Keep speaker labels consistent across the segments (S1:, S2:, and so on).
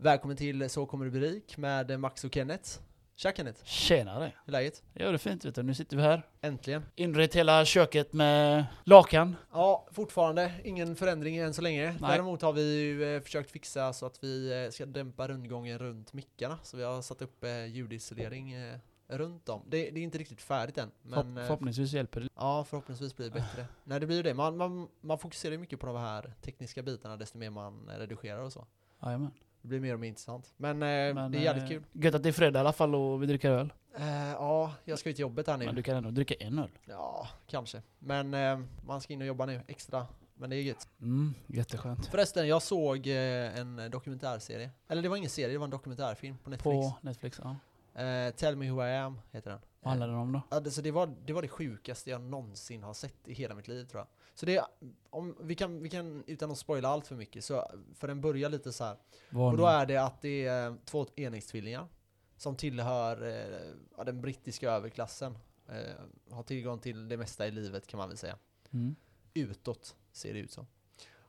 S1: Välkommen till Så kommer du bli rik med Max och Kenneth. Tja Kenneth,
S2: Tjenare!
S1: hur är läget?
S2: Ja, det är fint vet du. Nu sitter vi här.
S1: Äntligen.
S2: Inrett hela köket med lakan.
S1: Ja, fortfarande ingen förändring än så länge.
S2: Nej.
S1: Däremot har vi ju eh, försökt fixa så att vi eh, ska dämpa rundgången runt mickarna. Så vi har satt upp eh, ljudisolering eh, runt dem. Det, det är inte riktigt färdigt än. Men
S2: Förhopp-
S1: eh,
S2: förhoppningsvis hjälper det.
S1: ja, förhoppningsvis blir det bättre. Nej, det blir ju det. Man, man, man fokuserar ju mycket på de här tekniska bitarna desto mer man eh, redigerar och så.
S2: Jajamän.
S1: Det blir mer och mer intressant. Men, eh,
S2: Men,
S1: det är jävligt
S2: eh,
S1: kul.
S2: Gött att det är fredag i alla fall och vi dricker öl.
S1: Eh, ja, jag ska ju till jobbet här nu.
S2: Men du kan ändå dricka en öl.
S1: Ja, kanske. Men eh, man ska in och jobba nu extra. Men det är gött.
S2: Mm, jätteskönt.
S1: Förresten, jag såg eh, en dokumentärserie. Eller det var ingen serie, det var en dokumentärfilm på Netflix.
S2: På Netflix, ja.
S1: Eh, Tell me who I am heter den.
S2: Vad handlar den om då?
S1: Ja, det, så det, var, det var det sjukaste jag någonsin har sett i hela mitt liv tror jag. Så det, om, vi, kan, vi kan, utan att spoila allt för mycket, så, för den börjar lite så här. Och
S2: Varning.
S1: då är det att det är eh, två enäggstvillingar som tillhör eh, ja, den brittiska överklassen. Eh, har tillgång till det mesta i livet kan man väl säga
S2: Mm.
S1: utåt, ser det ut som.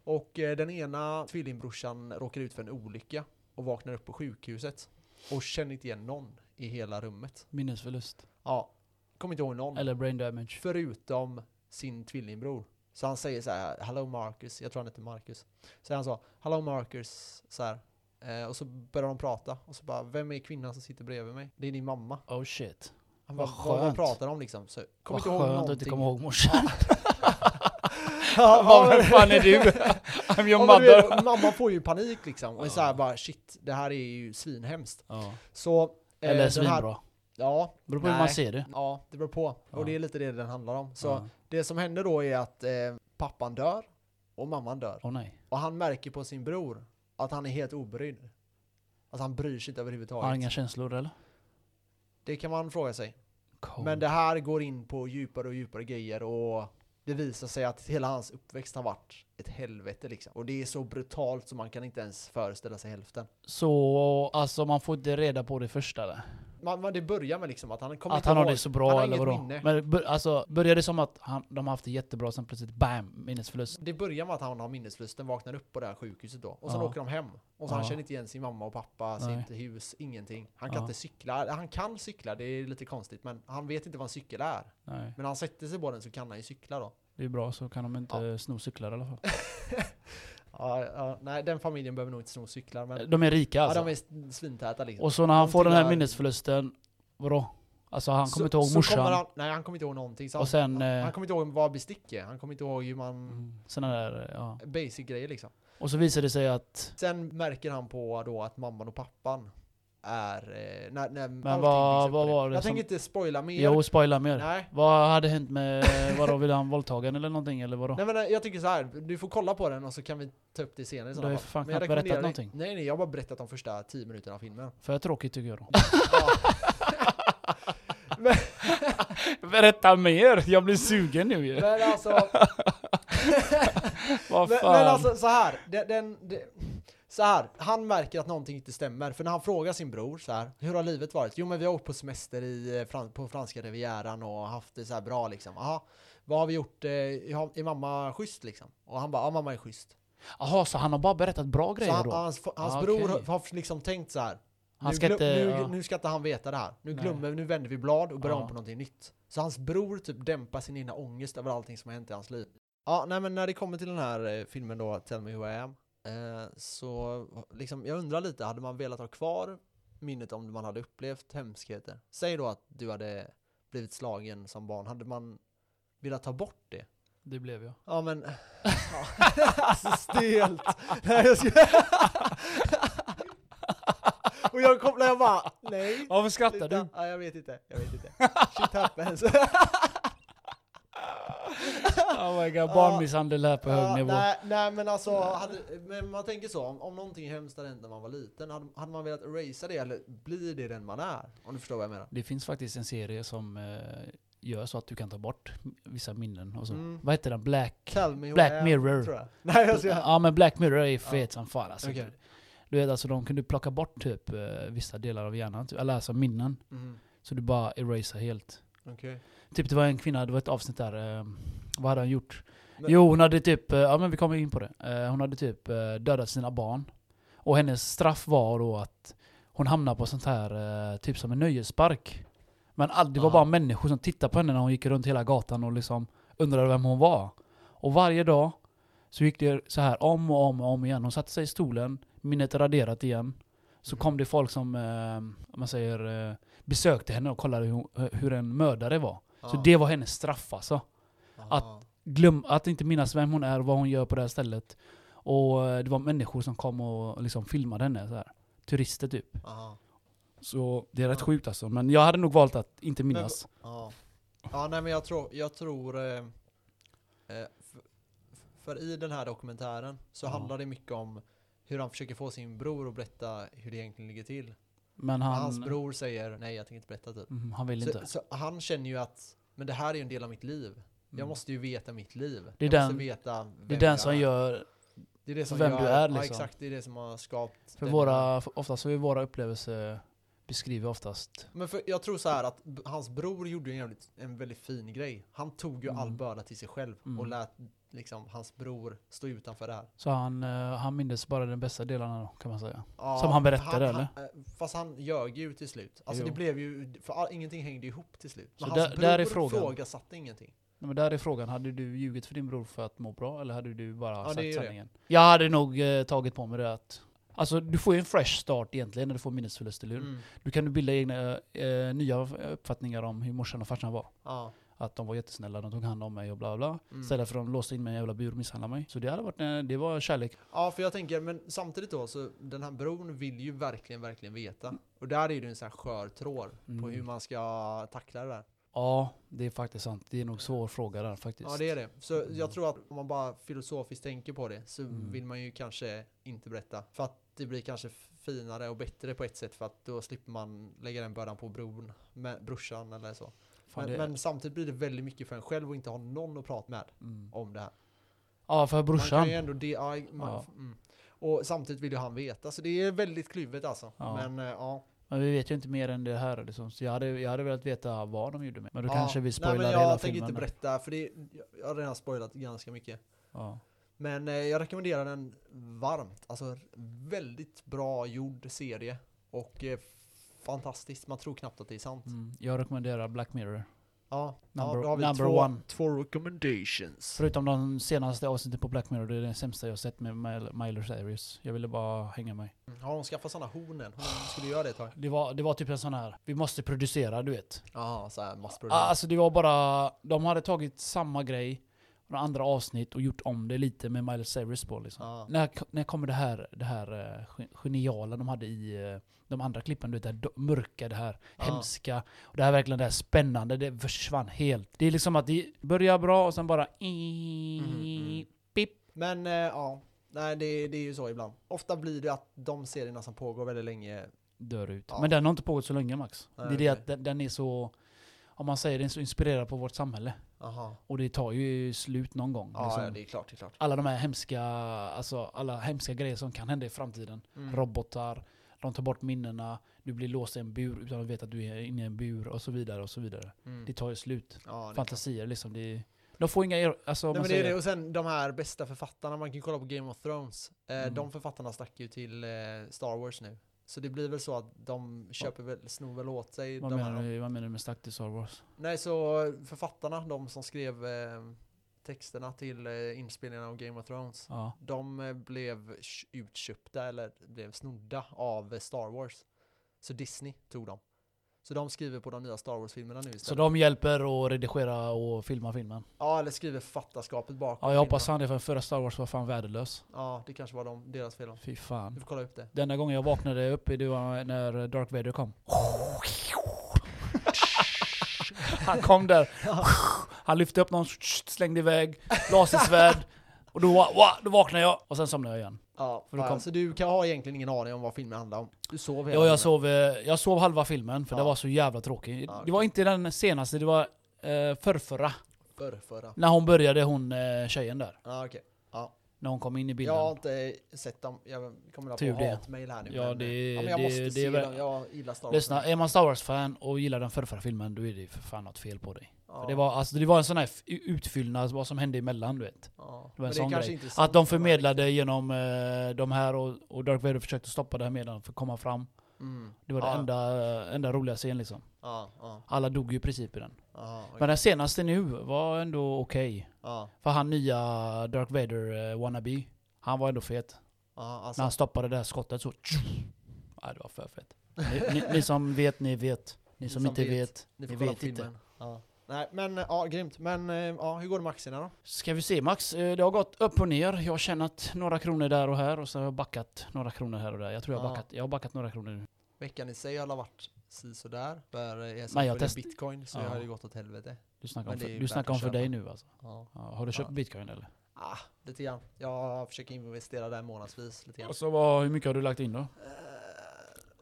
S1: Och eh, den ena tvillingbrorsan råkar ut för en olycka och vaknar upp på sjukhuset och känner inte igen någon i hela rummet.
S2: Minnesförlust.
S1: Ja, kommer inte ihåg någon.
S2: Eller brain damage.
S1: Förutom sin tvillingbror. Så han säger så här, Hello Marcus, jag tror han heter Marcus. Så han sa, Hello Marcus, så här. Eh, och så börjar de prata och så bara, vem är kvinnan som sitter bredvid mig? Det är din mamma.
S2: Oh shit.
S1: Han bara,
S2: Vad
S1: vad, vad
S2: skönt.
S1: pratar de om liksom? Så, kom
S2: Vad
S1: inte ihåg
S2: skönt att
S1: någonting.
S2: du inte kommer ihåg morsan.
S1: Ja,
S2: Vad
S1: men-
S2: vem fan är du? I'm your
S1: Ja, men du vet,
S2: mother.
S1: mamma får ju panik liksom. Och är
S2: Ja.
S1: så här bara shit, det här är ju svinhemskt.
S2: Ja.
S1: Så... eh,
S2: Eller
S1: den här-
S2: svinbra.
S1: Ja,
S2: Beror på hur man
S1: Nej.
S2: ser det.
S1: ja, det beror på.
S2: Ja.
S1: Och det är lite det den handlar om. Så
S2: Ja.
S1: det som händer då är att eh, pappan dör och mamman dör.
S2: Åh nej.
S1: Och han märker på sin bror att han är helt obrydd. Alltså han bryr sig inte överhuvudtaget.
S2: Har inga känslor eller?
S1: Det kan man fråga sig.
S2: Cool.
S1: Men det här går in på djupare och djupare grejer och det visar sig att hela hans uppväxt har varit ett helvete liksom. Och det är så brutalt så man kan inte ens föreställa sig hälften.
S2: Så alltså man får inte reda på det första där?
S1: Man, man, det börjar med liksom att han kommer
S2: att
S1: inte
S2: han har
S1: ihåg.
S2: det så bra
S1: Han har
S2: eller
S1: inget
S2: vadå?
S1: minne.
S2: Men bör, alltså, börjar det som att han, de har haft det jättebra, sen plötsligt bam, minnesförlust?
S1: Det börjar med att han har minnesförlusten, vaknar upp på det här sjukhuset då. Och sen
S2: Ja.
S1: åker de hem. Och så han
S2: Ja.
S1: känner inte igen sin mamma och pappa,
S2: Nej.
S1: sitt hus, ingenting. Han kan
S2: Ja.
S1: inte cykla. Eller, Han kan cykla, det är lite konstigt. Men han vet inte vad en cykel är.
S2: Nej,
S1: Men när han sätter sig på den så kan han ju cykla då.
S2: det är bra så kan de inte sno cyklar i alla fall.
S1: Ja, ja, nej, den familjen behöver nog inte sno cyklar. Men
S2: De är rika alltså.
S1: ja, de är s- svintäta liksom.
S2: Och så när han
S1: de
S2: får den här
S1: tillhör-
S2: minnesförlusten, vadå? Alltså han
S1: Så-
S2: kommer inte ihåg
S1: så
S2: morsan,
S1: kommer han, nej, han kommer inte ihåg någonting. Så
S2: Och
S1: han,
S2: sen,
S1: han,
S2: eh,
S1: han kommer inte ihåg vad bestick är. Han kommer inte ihåg hur man...
S2: Mm, såna där, ja.
S1: Basic grejer liksom.
S2: Och så visar det sig att,
S1: Sen märker han på då att mamman och pappan är... eh, När, när Men
S2: vad- vad var det
S1: Jag
S2: som-
S1: tänker inte spoila mer.
S2: jo spoila mer.
S1: Nej.
S2: Vad hade hänt med, vadå, ville han våldtagen eller någonting eller vadå?
S1: Nej men eh, jag tycker så här. du får kolla på den och så kan vi ta upp det senare i
S2: Du
S1: sådana
S2: har ju
S1: fall.
S2: för fan
S1: Men jag
S2: knappt berättat
S1: rekommenderar dig-
S2: någonting.
S1: Nej nej, jag har bara berättat de första 10 minuterna av filmen.
S2: För tråkigt tycker jag då.
S1: Men-
S2: Berätta mer! Jag blir sugen nu ju.
S1: Men alltså,
S2: Vad
S1: men,
S2: fan.
S1: men alltså så här. Den, den, det- så här, han märker att någonting inte stämmer. För när han frågar sin bror så här, hur har livet varit? Jo men vi har åkt på semester i, eh, Fran- på franska rivieran och haft det så här bra liksom. Aha, vad har vi gjort? eh, Har, är mamma schysst liksom? Och han bara, ja mamma är schysst.
S2: Jaha, så han har bara berättat bra
S1: Så
S2: grejer
S1: han,
S2: då?
S1: hans hans
S2: Ah,
S1: bror
S2: okej.
S1: har, har liksom tänkt så här.
S2: Han
S1: nu,
S2: ska
S1: glö-
S2: inte-
S1: nu,
S2: ja.
S1: nu ska inte han veta det här. Nu
S2: Nej.
S1: glömmer nu vänder vi blad och börjar
S2: Ja.
S1: om på någonting nytt. Så hans bror typ dämpar sin egna ångest över allting som har hänt i hans liv. Ja, nej men när det kommer till den här eh, filmen då, Tell me who I am, eh, så liksom, jag undrar lite, hade man velat ha kvar minnet om man hade upplevt hemskheter? Säg då att du hade blivit slagen som barn, hade man velat ta bort det?
S2: Det blev jag.
S1: Ja men, ja. alltså stelt. Nej, jag ska... Och jag kopplar, jag bara, nej.
S2: Varför skrattar
S1: sluta.
S2: du?
S1: Ja, jag vet inte, jag vet inte. Shit happens.
S2: Oh my god, barnmisshandel här på hög
S1: Ja,
S2: nivå.
S1: nej, nej men alltså, hade, men man tänker så, om, om någonting hemskt hade hänt när man var liten, hade, hade man velat erasa det eller blir det den man är? Om du förstår vad jag menar.
S2: Det finns faktiskt en serie som eh, gör så att du kan ta bort vissa minnen och så.
S1: Mm.
S2: Vad heter den? Black...
S1: Tell me who
S2: Black
S1: I am,
S2: Mirror.
S1: Tror jag. Nej jag ska...
S2: Ja men Black Mirror är fet som fan alltså.
S1: Okej.
S2: Du vet alltså de kunde plocka bort typ eh, vissa delar av hjärnan, typ, eller alltså minnen.
S1: Mm,
S2: Så du bara erasar helt.
S1: okej.
S2: Typ det var en kvinna, det var ett avsnitt där, eh, vad hade han gjort?
S1: Men-
S2: Jo hon hade typ, eh, ja men vi kommer in på det. Eh, hon hade typ eh, dödat sina barn. Och hennes straff var då att hon hamnade på sånt här, eh, typ som en nöjespark. Men all, det var
S1: Aha.
S2: bara människor som tittade på henne när hon gick runt hela gatan och liksom undrade vem hon var. Och varje dag så gick det så här om och om och om igen. Hon satte sig i stolen, minnet är raderat igen. Så
S1: Mhm.
S2: kom det folk som, eh, om man säger, eh, besökte henne och kollade hur, hon- hur en mördare var. Så
S1: Ja.
S2: det var hennes straff alltså
S1: Ja.
S2: glöm, att inte minnas vem hon är, vad hon gör på det här stället. Och eh, det var människor som kom och liksom filmade henne. Så här. Turister typ.
S1: Ja.
S2: Så det är rätt
S1: Ja.
S2: sjukt alltså. Men jag hade nog valt att inte minnas.
S1: Ja. ja, nej men jag tror, jag tror eh, eh, för, för i den här dokumentären så
S2: Ja.
S1: handlar det mycket om hur han försöker få sin bror att berätta hur det egentligen ligger till.
S2: Men
S1: Men
S2: han,
S1: Hans bror säger nej, jag tänker inte berätta typ.
S2: Mm, han vill
S1: Så,
S2: inte.
S1: så han känner ju att, men det här är ju en del av mitt liv. Jag
S2: Mm.
S1: måste ju veta mitt liv.
S2: Det är
S1: jag
S2: den-
S1: måste veta
S2: Mm. det är
S1: vem
S2: den
S1: jag
S2: som
S1: är.
S2: gör,
S1: det är det som
S2: vem
S1: gör,
S2: du är,
S1: Ja,
S2: liksom.
S1: exakt, det är det som har skapat
S2: för
S1: den-
S2: våra, för oftast är våra upplevelser beskriver oftast.
S1: Men för, jag tror så här att b- hans bror gjorde en, jävligt, en väldigt fin grej. Han tog ju all
S2: Mm.
S1: börda till sig själv
S2: Mm.
S1: och lät liksom hans bror stå utanför det här.
S2: Så han, eh, han mindes bara den bästa delarna då, kan man säga.
S1: Ja,
S2: Som han berättade,
S1: eh, Fast han ljög ju till slut. Alltså
S2: Jo.
S1: det blev ju, för all, ingenting hängde ihop till slut. Men
S2: Så
S1: hans
S2: där-
S1: bror
S2: där är frågan.
S1: frågasatte ingenting.
S2: Nej, Men där är frågan, hade du ljugit för din bror för att må bra eller hade du bara
S1: det är
S2: sagt
S1: ju det.
S2: sanningen? Jag hade nog eh, tagit på mig det att Alltså du får ju en fresh start egentligen när du får minnesförlust, eller hur?
S1: Mm.
S2: Du kan ju bilda egna eh, nya uppfattningar om hur morsan och farsan var.
S1: Ja. Att
S2: Att de var jättesnälla, de tog hand om mig och bla bla.
S1: Mm.
S2: Istället för att de låste in mig i en jävla bur och misshandlade mig. Så det hade varit, eh, det var kärlek.
S1: Ja, för jag tänker, men samtidigt då, så den här bron vill ju verkligen, verkligen veta. Och där är ju det en sån här skör tråd på
S2: Mm.
S1: hur man ska tackla det där.
S2: Ja, det är faktiskt sant. Det är nog svår fråga där faktiskt.
S1: Ja, det är det. Så
S2: Mm.
S1: jag tror att om man bara filosofiskt tänker på det så
S2: Mm.
S1: vill man ju kanske inte berätta. För att det blir kanske finare och bättre på ett sätt för att då slipper man lägga den bördan på bron, med brorsan eller så.
S2: Fan,
S1: Men,
S2: det-
S1: men samtidigt blir det väldigt mycket för en själv att inte ha någon att prata med
S2: mm.
S1: om det här.
S2: Ja, för
S1: Man
S2: brorsan.
S1: kan ju ändå det, ja, man,
S2: Ja.
S1: Mm. Och samtidigt vill ju han veta, så det är väldigt kluvet alltså.
S2: Ja.
S1: Men eh, ja.
S2: Men vi vet ju inte mer än det här. Liksom. Så jag, hade, jag hade velat veta vad de gjorde med Men då
S1: ja.
S2: kanske vi spoilar
S1: Nej, men jag
S2: hela
S1: tänker
S2: filmen.
S1: inte
S2: där.
S1: berätta, för det, jag har redan spoilat ganska mycket.
S2: ja.
S1: Men eh, jag rekommenderar den varmt. Alltså väldigt bra gjord serie. Och eh, fantastiskt, man tror knappt att det är sant.
S2: mm. Jag rekommenderar Black Mirror.
S1: Ja,
S2: Number-
S1: ja, då har vi
S2: number
S1: två,
S2: one.
S1: två recommendations.
S2: Förutom de senaste avsnitten på Black Mirror, det är det sämsta jag sett med Mil- Miley Cyrus. Jag ville bara hänga mig.
S1: Mm, Har hon skaffat sådana hornen? Hon skulle göra det ett tag.
S2: Det var, det var typ en sån här, vi måste producera du vet.
S1: Ja, såhär massproduktion.
S2: Ah, Alltså det var bara, de hade tagit samma grej, några andra avsnitt och gjort om det lite med Miley Cyrus på liksom.
S1: Ja.
S2: När, när kommer det här, det här eh, gen- geniala de hade i eh, de andra klippen, du vet det här do- mörka, det här
S1: Ja.
S2: hemska. Och det här verkligen det här spännande, det försvann helt. Det är liksom att det börjar bra och sen bara... i-
S1: mm.
S2: Pip.
S1: Men eh, ja, nej det, det är ju så ibland. Ofta blir det att de serierna som pågår väldigt länge.
S2: dör ut.
S1: Ja.
S2: Men den har inte pågått så länge Max.
S1: Nej,
S2: det är det
S1: okej.
S2: att den, den är så, om man säger den är så inspirerad på vårt samhälle.
S1: Aha.
S2: Och det tar ju slut någon gång.
S1: Ja,
S2: liksom.
S1: ja, det är klart, det är klart.
S2: Alla de här hemska, alltså, alla hemska grejer som kan hända i framtiden.
S1: Mm.
S2: Robotar, de tar bort minnena, du blir låst i en bur utan att veta att du är inne i en bur och så vidare och så vidare.
S1: Mm.
S2: Det tar ju slut.
S1: Ja, det är klart.
S2: Fantasier liksom. Det, de får inga, er- alltså om
S1: Nej,
S2: man
S1: men det är
S2: säger,
S1: det. Och sen de här bästa författarna, man kan ju kolla på Game of Thrones. Eh,
S2: Mm.
S1: De författarna stack ju till eh, Star Wars nu. Så det blir väl så att de köper väl, snor väl åt sig
S2: vad,
S1: de
S2: menar
S1: här.
S2: du, vad menar du med stack till Star Wars?
S1: Nej, så författarna, de som skrev eh, texterna till eh, inspelningarna av Game of Thrones.
S2: Ja.
S1: De eh, blev sh- utköpta eller blev snodda av eh, Star Wars. Så Disney tog dem. Så de skriver på de nya Star Wars-filmerna nu istället.
S2: Så de hjälper att redigera och filma filmen?
S1: Ja, eller skriver författarskapet bakom
S2: Ja, jag hoppas
S1: filmerna.
S2: han det, för förra Star Wars var fan värdelös.
S1: Ja, det kanske var de, deras fel. då.
S2: Fy fan.
S1: Du får kolla upp det.
S2: Den enda gången jag vaknade upp det var när Dark Vader kom. Han kom där. Han lyfte upp någon, slängde iväg, lasersvärd. Och då, va- va- då vaknade jag och sen somnade jag igen.
S1: Ja,
S2: För då
S1: ja,
S2: kom-
S1: så du kan ha egentligen ingen aning om vad filmen handlar om. Du sov hela
S2: Ja,
S1: filmen.
S2: jag, sov, eh, jag sov halva filmen för det
S1: Ja.
S2: var så jävla tråkigt.
S1: Ja, okej.
S2: Det var inte den senaste, det var eh, förrförra.
S1: Förrförra.
S2: När hon började, hon eh, tjejen där.
S1: Ja, okej. Ja.
S2: När hon kom in i
S1: Jag
S2: bilden.
S1: har inte sett dem, jag kommer att
S2: Tur
S1: få
S2: det.
S1: hatmejl här nu.
S2: Ja,
S1: men,
S2: det-
S1: ja, men jag
S2: det-
S1: måste
S2: det
S1: se
S2: är väl-
S1: dem, jag gillar Star Wars.
S2: Lyssna, eh, är man Star Wars-fan och gillar den förra, förra filmen, då är det ju för fan något fel på dig.
S1: Ja,
S2: För Det, var, alltså, det var en sån här f- utfyllnad, vad som hände emellan du vet.
S1: ja.
S2: det var en
S1: Men
S2: sån
S1: kanske
S2: grej.
S1: inte så-
S2: Att de förmedlade genom eh, de här och, och Dark Vader försökte stoppa det här medan för att komma fram.
S1: Mm.
S2: Det var
S1: Ja.
S2: den enda, enda roliga scenen liksom.
S1: Ja, ja,
S2: Alla dog ju i princip i den.
S1: ja, okej.
S2: Men den senaste nu var ändå okej.
S1: ja,
S2: För han nya Dark Vader eh, wannabe, han var ändå fet.
S1: ja,
S2: När
S1: alltså,
S2: han stoppade det här skottet så... Nej, det var för fett. Ni, ni, ni som vet, ni vet. Ni som, inte vet,
S1: ni
S2: ni
S1: får kolla på
S2: vet inte.
S1: filmen. Ja. Nej, men eh, ja, grymt. Men eh, ja, hur går det med aktierna då?
S2: Ska vi se Max, Eh, det har gått upp och ner. Jag har tjänat några kronor där och här och så har jag backat några kronor här och där. Jag tror jag har
S1: Ja.
S2: backat, jag har backat några kronor nu.
S1: Veckan i sig har varit sisådär. För eh, jag som
S2: Men jag
S1: följer
S2: test-
S1: bitcoin så
S2: Ja.
S1: har det gått åt helvete.
S2: Du snackar
S1: Men
S2: om,
S1: det är
S2: för,
S1: ju
S2: du
S1: värt
S2: snackar om
S1: att
S2: för dig
S1: köpa.
S2: nu alltså.
S1: Ja.
S2: Ja, har du köpt
S1: Ja.
S2: bitcoin eller?
S1: Ah, lite grann. Jag försöker investera där månadsvis lite grann.
S2: så vad, hur mycket har du lagt in då?
S1: Eh,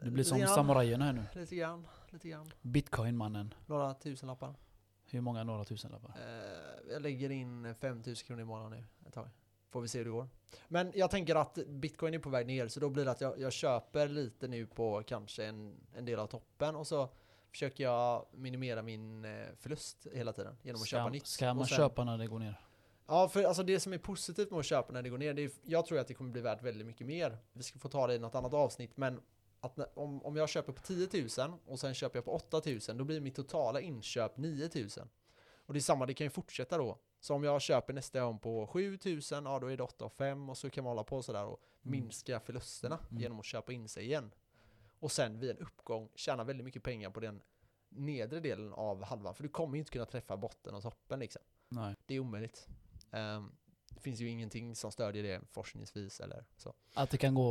S2: Du blir som
S1: lite grann,
S2: samurajen här nu.
S1: Lite grann, lite grann.
S2: Bitcoin-mannen.
S1: Några tusenlappar.
S2: Hur många några tusenlappar?
S1: Eh, jag lägger in 5000 kronor i månaden nu ett tag. Får vi se hur det går. Men jag tänker att bitcoin är på väg ner så då blir det att jag, jag köper lite nu på kanske en, en del av toppen och så försöker jag minimera min eh, förlust hela tiden genom att
S2: Ska,
S1: köpa
S2: man-
S1: nytt.
S2: ska
S1: Och
S2: man
S1: sen-
S2: köpa när det går ner?
S1: Ja, för alltså det som är positivt med att köpa när det går ner, det är, jag tror att det kommer bli värt väldigt mycket mer. Vi ska få ta det i något annat avsnitt, men att när, om, om jag köper på 10 000 och sen köper jag på 8 000, då blir mitt totala inköp 9 000. Och det är samma, det kan ju fortsätta då. Så om jag köper nästa gång på 7 000, ja då är det 8 och 5 och så kan man hålla på sådär och
S2: Mm.
S1: minska förlusterna
S2: Mm.
S1: genom att köpa in sig igen. Och sen vid en uppgång tjäna väldigt mycket pengar på den nedre delen av halvan, för du kommer ju inte kunna träffa botten och toppen liksom.
S2: Nej.
S1: Det är omöjligt. Ehm, det finns ju ingenting som stödjer det forskningsvis eller så.
S2: Att det kan gå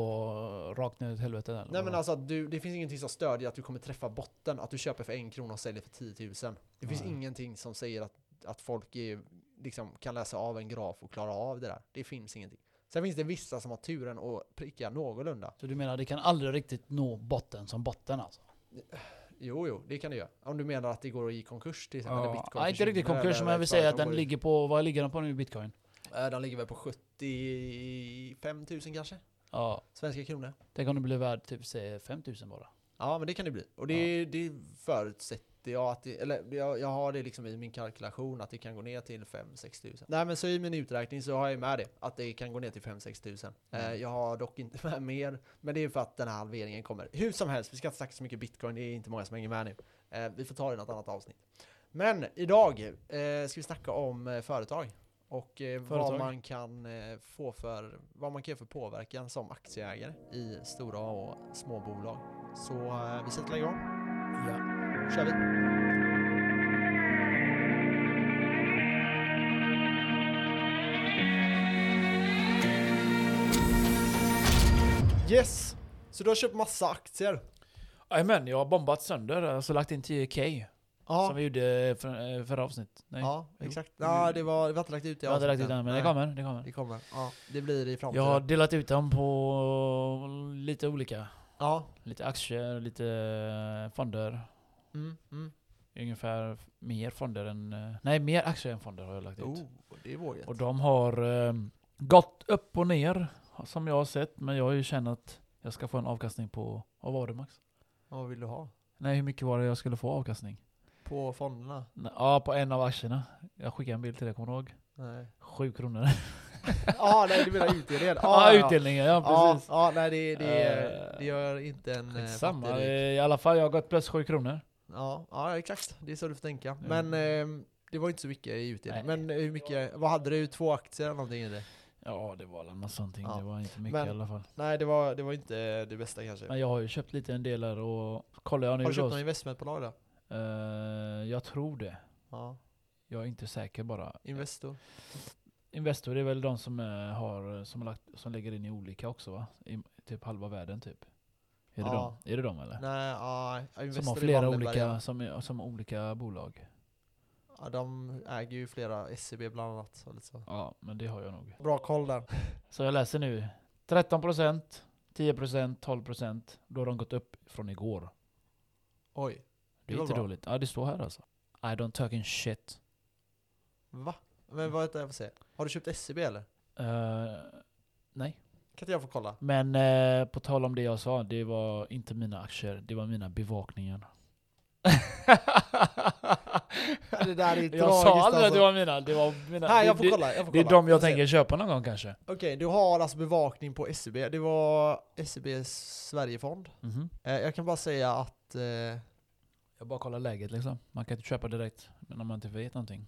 S2: rakt ner i helvetet? eller
S1: Nej
S2: vadå?
S1: men alltså att du, det finns ingenting som stödjer att du kommer träffa botten, att du köper för en krona och säljer för 10 000. Det finns
S2: Nej.
S1: ingenting som säger att, att folk är, liksom, kan läsa av en graf och klara av det där. Det finns ingenting. Sen finns det vissa som har turen att pricka någorlunda.
S2: Så du menar, det kan aldrig riktigt nå botten som botten alltså?
S1: Jo, jo, det kan du göra. Om du menar att det går i konkurs till exempel. eller bitcoin
S2: ja, inte riktigt
S1: försvinner,
S2: konkurs,
S1: eller
S2: men jag vill
S1: ett
S2: säga att
S1: företag
S2: den
S1: går ut.
S2: ligger på, vad ligger den på nu bitcoin?
S1: Eh, Den ligger väl på 75 000 kanske?
S2: Ja,
S1: Svenska kronor.
S2: tänk om det blir värd typ säg 5000 bara.
S1: Ja, men det kan det bli. Och det, det förutsätter jag att det, eller jag, jag har det liksom i min kalkylation att det kan gå ner till 5-6 tusen. Nej, men så i min uträkning så har jag med det, att det kan gå ner till 5-6 tusen.
S2: Mm.
S1: Eh, jag har dock inte med mer, men det är för att den här halveringen kommer. Hur som helst, vi ska inte snacka så mycket bitcoin, det är inte många som hänger med nu. Eh, vi får ta det i något annat avsnitt. Men idag eh, ska vi snacka om eh, företag och eh, vad
S2: Företag.
S1: man kan eh, få för, vad man kan göra för påverkan som aktieägare i stora och små bolag. Så eh, vi sätter igång.
S2: Ja.
S1: kör vi. Yes! Så du har köpt massa aktier?
S2: Jajamän, jag har bombat sönder, alltså lagt in 10k.
S1: Ja,
S2: Som vi gjorde för, eh, förra avsnitt. Nej.
S1: ja
S2: Jo.
S1: exakt. Ja, det var, vi har inte lagt ut det
S2: jag har inte lagt ut
S1: avsnittet
S2: den,
S1: än.
S2: men det
S1: Nej,
S2: kommer. Det kommer.
S1: Det kommer. Ja, det blir i
S2: Jag
S1: framtiden.
S2: har delat ut dem på lite olika.
S1: Ja.
S2: Lite aktier, lite fonder.
S1: Mm, mm.
S2: Ungefär mer fonder än... eh, Nej, mer aktier än fonder har jag lagt ut.
S1: Oh, det är vågat.
S2: Och de har eh, gått upp och ner, som jag har sett. Men jag har ju känt att jag ska få en avkastning på... Vad var det Max?
S1: Vad vill du ha?
S2: Nej, hur mycket var det jag skulle få avkastning?
S1: På fonderna?
S2: Nej, Ja, på en av aktierna. Jag skickade en bild till dig, kommer du ihåg?
S1: Nej.
S2: Sju kronor.
S1: ah, nej, du menar utdelningen?
S2: Ja, utdelningen. Ja,
S1: Ja,
S2: precis.
S1: ja, nej det, det,
S2: Eh,
S1: det gör inte en eh,
S2: Samma.
S1: fattig rik.
S2: I alla fall, jag har gått plus sju kronor.
S1: Ja, ja, exakt. Det är så du får tänka.
S2: Ja.
S1: Men ehm, det var inte så mycket i utdelning.
S2: Mm.
S1: Men
S2: Nej.
S1: hur mycket, vad hade du? Två aktier eller någonting i det?
S2: Ja, det var väl något sånt.
S1: Ja.
S2: Det var inte mycket
S1: Men-
S2: i alla fall.
S1: Nej, det var, det var inte det bästa kanske.
S2: Men jag har ju köpt lite en del där och kollar jag nu
S1: Har
S2: då.
S1: du köpt något investmentbolag då?
S2: eh, jag tror det.
S1: Ja,
S2: Jag är inte säker bara.
S1: Investor.
S2: Investor är väl de som, eh, har, som, har lagt, som lägger in i olika också va? I, typ halva världen typ. Är det,
S1: Ja.
S2: de? är det de eller?
S1: Nej, ja, Investor
S2: som har
S1: i
S2: flera
S1: Wallenberg,
S2: olika,
S1: ja.
S2: som, är- som har olika bolag.
S1: Ja, de äger ju flera, SEB bland annat. Så lite så.
S2: Ja, men det har jag nog.
S1: Bra koll där.
S2: Så jag läser nu. 13%, 10%, 12%. Då har de gått upp från igår.
S1: Oj,
S2: Det
S1: Det
S2: är
S1: var
S2: inte
S1: bra.
S2: dåligt. Ja, det står här alltså. I don't talking shit.
S1: va? Men vad heter det, jag får se. Har du köpt SEB eller?
S2: Eh, nej.
S1: Kan inte jag få kolla?
S2: Men eh, på tal om det jag sa, det var inte mina aktier, det var mina bevakningar.
S1: Det där är
S2: jag
S1: tragiskt,
S2: sa aldrig att
S1: alltså.
S2: det var mina. Det, var mina.
S1: Nej,
S2: det,
S1: jag får
S2: det,
S1: kolla. Jag får
S2: det är
S1: kolla.
S2: de jag
S1: ser.
S2: tänker köpa någon gång kanske.
S1: Okej, du har alltså bevakning på SEB. Det var SEBs Sverigefond.
S2: Mhm.
S1: Eh, jag kan bara säga att eh,
S2: Jag bara kollar läget liksom. Man kan inte köpa direkt när man inte vet någonting.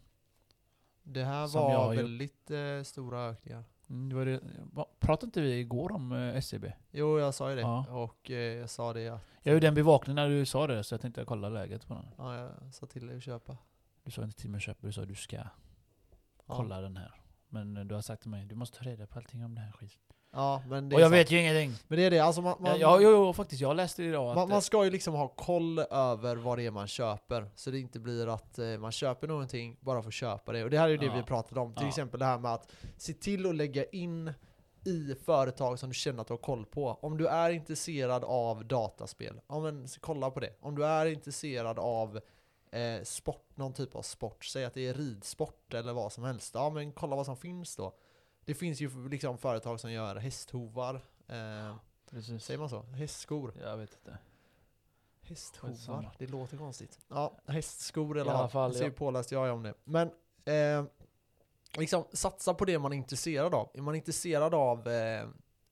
S1: det här
S2: Som jag
S1: var
S2: har gjort.
S1: väldigt eh, stora ökningar.
S2: Mm, det var det. va- Pratade inte vi igår om eh, SCB?
S1: Jo, jag sa ju det.
S2: Ja.
S1: Och eh, jag sa det att
S2: Jag gjorde en bevakning när du sa det så jag tänkte kolla läget på den.
S1: ja, jag sa till dig att köpa.
S2: Du sa inte till mig att köpa, du sa att du ska
S1: Ja.
S2: kolla den här. Men eh, du har sagt till mig, du måste ta reda på allting om den här skiten.
S1: Ja, men det
S2: Och jag
S1: är sant.
S2: vet ju ingenting!
S1: Men det är det, alltså man, man,
S2: Man, ja, jo, jo, faktiskt, jag läste idag att...
S1: man, man ska ju liksom ha koll över vad det är man köper. Så det inte blir att eh, man köper någonting bara för att köpa det. Och det här är ju det
S2: Ja.
S1: vi pratade om. Till
S2: Ja.
S1: exempel det här med att se till att lägga in i företag som du känner att du har koll på. Om du är intresserad av dataspel, ja men så kolla på det. Om du är intresserad av eh, sport, någon typ av sport, säg att det är ridsport eller vad som helst, ja men kolla vad som finns då. Det finns ju liksom företag som gör hästhovar, eh,
S2: precis.
S1: säger man så? Hästskor.
S2: Jag vet inte.
S1: Hästhovar,
S2: Skitsamma.
S1: det låter konstigt. Ja, hästskor eller
S2: I alla
S1: vad.
S2: fall,
S1: Så
S2: ja.
S1: påläst jag är om det. Men eh, liksom, satsa på det man är intresserad av. Är man intresserad av eh,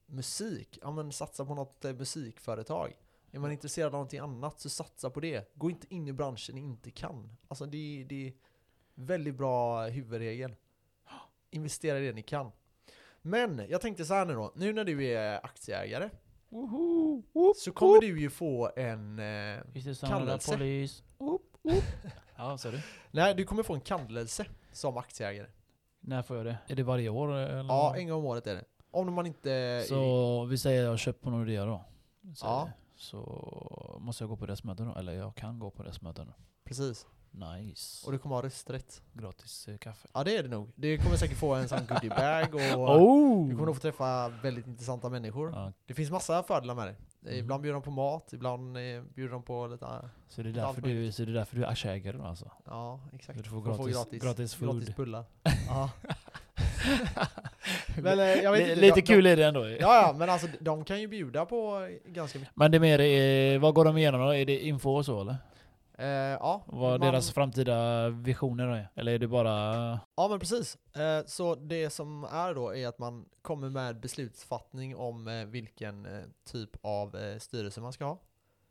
S1: musik, ja men satsa på något eh, musikföretag. Är man intresserad av någonting annat så satsa på det. Gå inte in i branschen ni inte kan. Alltså det, det är väldigt bra huvudregel. Investera i det ni kan. Men jag tänkte så här nu då, nu när du är aktieägare
S2: Woho! Whoop,
S1: så kommer du ju få en eh,
S2: Visst är det samma
S1: Kallelse.
S2: polis? Whoop, whoop. ja, ser du?
S1: Nej, du kommer få en kallelse som aktieägare.
S2: När får jag det? Är det varje år? Eller?
S1: Ja, en gång om året är det. Om man inte...
S2: Mm. Så vi säger att jag köper på Nordea då. Så,
S1: Ja.
S2: så måste jag gå på deras möten då? Eller jag kan gå på deras möten då.
S1: Precis.
S2: Nice.
S1: Och du kommer ha rösträtt.
S2: Gratis eh, kaffe.
S1: Ja, det är det nog. Du kommer säkert få en sån goodiebag och...
S2: Oh!
S1: Du kommer nog få träffa väldigt intressanta människor.
S2: ja,
S1: Det finns massa fördelar med det.
S2: Mhm.
S1: Ibland bjuder de på mat, ibland eh, bjuder de på lite... eh,
S2: så, det är
S1: Allt
S2: därför du, så det är därför du är aktieägare då alltså?
S1: Ja, exakt.
S2: Du får
S1: För att få
S2: gratis- gratis food.
S1: Gratis bullar. ja. Men eh, jag vet
S2: Li-
S1: inte,
S2: lite
S1: de-
S2: kul är det ändå.
S1: De, ja, ja, men alltså de kan ju bjuda på ganska mycket.
S2: Men det är mer, eh, vad går de igenom då? Är det info och så eller?
S1: Eh, ja, man-
S2: Vad deras framtida visioner är? Eller är det bara...
S1: Ja men precis. Eh, Så det som är då är att man kommer med beslutsfattning om eh, vilken eh, typ av eh, styrelse man ska ha.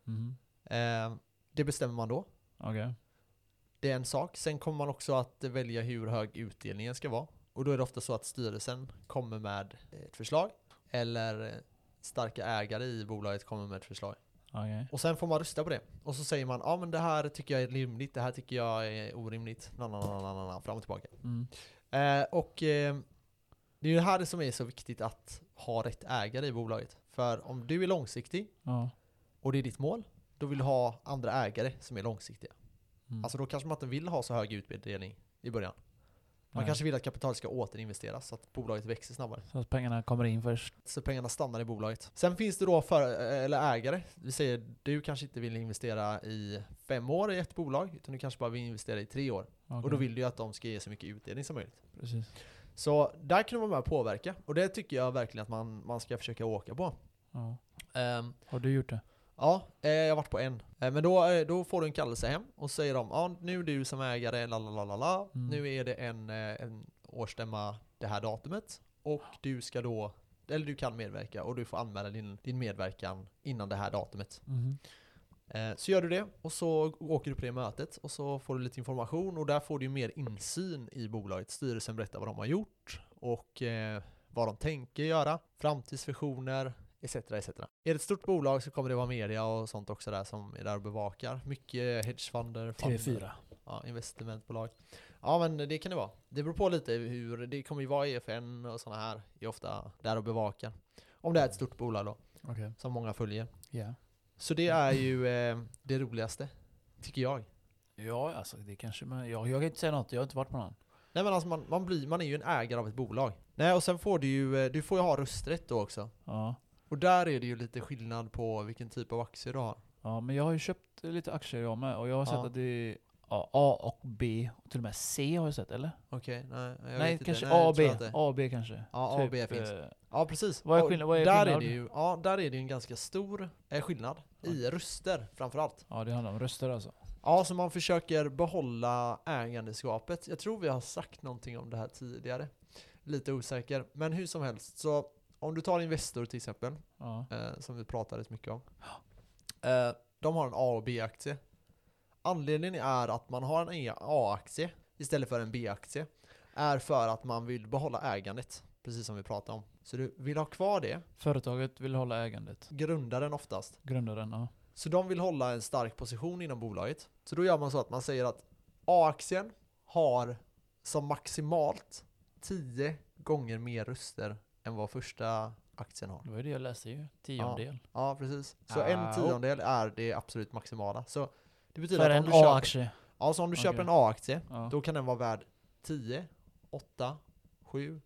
S2: Mhm.
S1: Eh, Det bestämmer man då.
S2: Okej.
S1: Det är en sak. Sen kommer man också att välja hur hög utdelningen ska vara. Och då är det ofta så att styrelsen kommer med ett förslag. Eller eh, starka ägare i bolaget kommer med ett förslag.
S2: Okej.
S1: Och sen får man rösta på det. Och så säger man, ja ah, men det här tycker jag är rimligt, det här tycker jag är orimligt. Na, na, na, na, na, na, fram och tillbaka.
S2: Mm.
S1: Eh, och eh, det är ju det här som är så viktigt att ha rätt ägare i bolaget. För om du är långsiktig
S2: Ja.
S1: och det är ditt mål, då vill du ha andra ägare som är långsiktiga.
S2: Mm.
S1: Alltså då kanske man inte vill ha så hög utdelning i början. Man
S2: Nej.
S1: kanske vill att kapitalet ska återinvesteras så att bolaget växer snabbare.
S2: Så att pengarna kommer in först.
S1: Så pengarna stannar i bolaget. Sen finns det då för, eller ägare. Vi säger du kanske inte vill investera i fem år i ett bolag, utan du kanske bara vill investera i tre år. Och då
S2: Okej.
S1: vill du ju att de ska ge så mycket utdelning som möjligt.
S2: Precis.
S1: Så där kan du vara med och påverka. Och det tycker jag verkligen att man, man ska försöka åka på.
S2: Ja.
S1: Ehm,
S2: Har du gjort det?
S1: ja, eh, jag har varit på en. Eh, men då, eh, då får du en kallelse hem och säger de ja, nu är du som ägare, la la la la la.
S2: Mm.
S1: Nu är det en, eh, en årsstämma det här datumet. Och du ska då, eller du kan medverka och du får anmäla din, din medverkan innan det här datumet.
S2: Mhm.
S1: Eh, Så gör du det och så åker du på det mötet och så får du lite information och där får du ju mer insyn i bolaget. Styrelsen berättar vad de har gjort och eh, vad de tänker göra, framtidsvisioner etc. etc. Är det ett stort bolag så kommer det vara media och sånt också där som är där och bevakar. Mycket hedgefunder, fonder,
S2: TV4.
S1: Ja, investmentbolag. Ja men det kan det vara. Det beror på lite hur, det kommer ju vara EFN och sådana här, är ofta där och bevakar. Om det är ett stort bolag då,
S2: Okej.
S1: som många följer.
S2: Ja.
S1: Så det är ju eh, det roligaste, tycker jag.
S2: Ja, alltså det kanske man... Jag, jag kan inte säga något, jag har inte varit på någon.
S1: Nej men alltså man, man, blir, man är ju en ägare av ett bolag. Nej och sen får du ju, eh, du får ju ha rösträtt då också.
S2: Ja.
S1: Och där är det ju lite skillnad på vilken typ av aktier du har.
S2: ja, men jag har ju köpt lite aktier jag med och jag har sett
S1: Ja.
S2: att det... ja, A och B, och till och med C har jag sett eller?
S1: Okej, nej. Jag
S2: nej,
S1: vet inte.
S2: kanske
S1: Nej, jag
S2: A och
S1: tror
S2: B.
S1: att det-
S2: A och B kanske.
S1: Ja, A och B finns.
S2: eh,
S1: Ja, precis.
S2: Vad är
S1: Och
S2: skillnad- vad är
S1: där
S2: skillnaden?
S1: Är det ju, ja, där är det ju en ganska stor eh, skillnad. I röster framförallt.
S2: Ja, det handlar om röster alltså.
S1: Ja, så man försöker behålla ägandeskapet. Jag tror vi har sagt någonting om det här tidigare. Lite osäker. Men hur som helst, så om du tar Investor till exempel,
S2: Ja.
S1: eh, som vi pratade rätt mycket om. Eh, de har en A och B-aktie. Anledningen är att man har en E- A-aktie istället för en B-aktie är för att man vill behålla ägandet, precis som vi pratade om. Så du vill ha kvar det,
S2: Företaget vill hålla ägandet.
S1: grundaren oftast.
S2: Grundaren, ja.
S1: Så de vill hålla en stark position inom bolaget. Så då gör man så att man säger att A-aktien har som maximalt 10 gånger mer röster än vad första aktien har.
S2: Det var ju det jag läste ju. Tiondel.
S1: Ja, precis. Så
S2: Ah,
S1: en
S2: oh.
S1: tiondel är det absolut maximala. Så det betyder
S2: För
S1: att
S2: en
S1: om du, köper,
S2: A-aktie.
S1: ja, så om du köper
S2: Okej.
S1: en A-aktie,
S2: Ja.
S1: då kan den vara värd 10, 8, 7,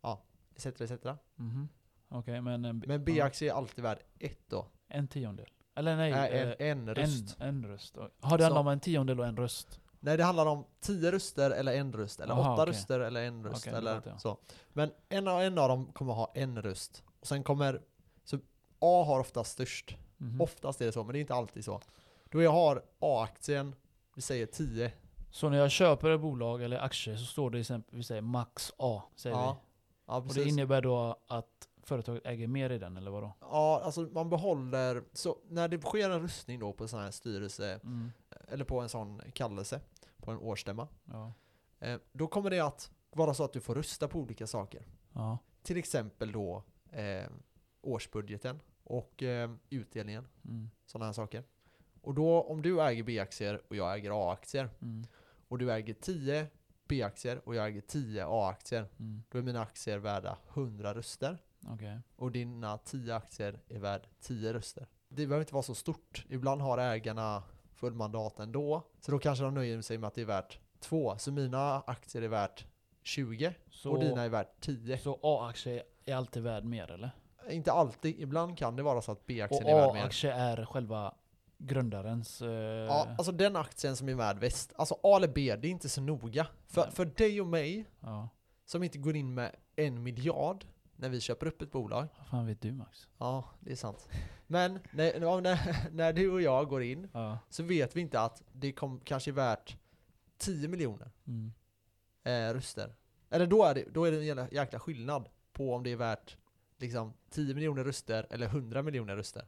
S1: ja, etc. etc.
S2: Mhm. Okej, men en,
S1: Men
S2: ja.
S1: B-aktie är alltid värd 1 då.
S2: en tiondel. Eller nej,
S1: Nej,
S2: eh,
S1: en, en röst.
S2: En, en röst. Har det handlar
S1: Så-
S2: om en tiondel och en röst?
S1: Nej, det handlar om 10 röster eller en röst, eller
S2: Aha,
S1: 8
S2: okej.
S1: röster eller en röst.
S2: Okej, då
S1: eller
S2: fattar jag.
S1: så. Men en av, en av dem kommer ha en röst. Och sen kommer, så A har oftast störst.
S2: Mhm.
S1: Oftast är det så, men det är inte alltid så. Då jag har A-aktien, vi säger 10.
S2: Så när jag köper ett bolag eller aktier så står det till exempel, vi säger max A. Säger
S1: Ja, ja,
S2: vi. Och det
S1: precis.
S2: innebär då att företaget äger mer i den eller vadå?
S1: Ja, alltså man behåller, så när det sker en röstning då på sån här styrelse,
S2: Mm.
S1: eller på en sån kallelse, på en årsstämma,
S2: Ja.
S1: eh, då kommer det att vara så att du får rösta på olika saker.
S2: ja.
S1: Till exempel då eh, årsbudgeten och eh, utdelningen,
S2: Mm.
S1: sådana här saker. Och då om du äger B-aktier och jag äger A-aktier,
S2: Mm.
S1: och du äger 10 B-aktier och jag äger 10 A-aktier,
S2: Mm.
S1: Då är mina aktier värda 100 röster
S2: Okej.
S1: och dina 10 aktier är värd 10 röster. Det behöver inte vara så stort. Ibland har ägarna full mandat ändå. Så då kanske de nöjer sig med att det är värt 2. Så mina aktier är värt 20
S2: Så,
S1: och dina är värt 10.
S2: så A-aktie är alltid värd mer eller?
S1: Inte alltid. Ibland kan det vara så att
S2: Och
S1: B-aktien är värd mer.
S2: A-aktie är själva grundarens... Eh,
S1: Ja, alltså den aktien som är värd bäst. Alltså A eller B, det är inte så noga. För,
S2: Nej.
S1: för dig och mig
S2: ja.
S1: som inte går in med en miljard när vi köper upp ett bolag.
S2: Vad fan vet du Max?
S1: Ja, det är sant. Men när, ja, när, när du och jag går in
S2: Ja.
S1: så vet vi inte att det kom, kanske är värt 10 miljoner
S2: Mm.
S1: eh, röster. Eller då är, det, då är det en jävla, jäkla skillnad på om det är värt liksom, 10 miljoner röster eller 100 miljoner röster.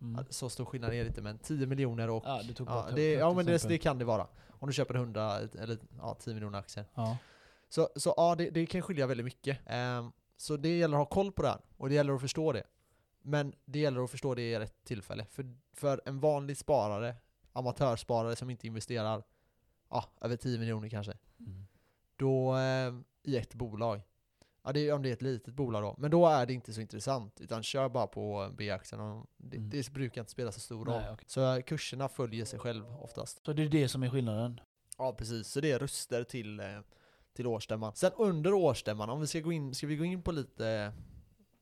S2: Mm.
S1: Så stor skillnad är det inte, men 10 miljoner och...
S2: Ja, du tog
S1: Ja,
S2: bort
S1: det,
S2: ett
S1: ja men det,
S2: exempel.
S1: det kan det vara. Om du köper 100 eller ja, 10 miljoner aktier.
S2: Ja.
S1: Så, så ja, det, det kan skilja väldigt mycket. Ehm, så det gäller att ha koll på det här och det gäller att förstå det. Men det gäller att förstå det i rätt tillfälle. För, för en vanlig sparare, amatörsparare som inte investerar ja, över 10 miljoner kanske,
S2: Mm.
S1: då eh, i ett bolag. Ja, det är, om det är ett litet bolag då. Men då är det inte så intressant, utan kör bara på B-aktien. och Det,
S2: Mm.
S1: det brukar inte spela så stor roll.
S2: Nej, okej.
S1: Så eh, kurserna följer sig själv oftast.
S2: Så det är det som är skillnaden?
S1: Ja, precis. Så det är röster till, eh, till årsstämman. Sen under årsstämman, om vi ska gå in, ska vi gå in på lite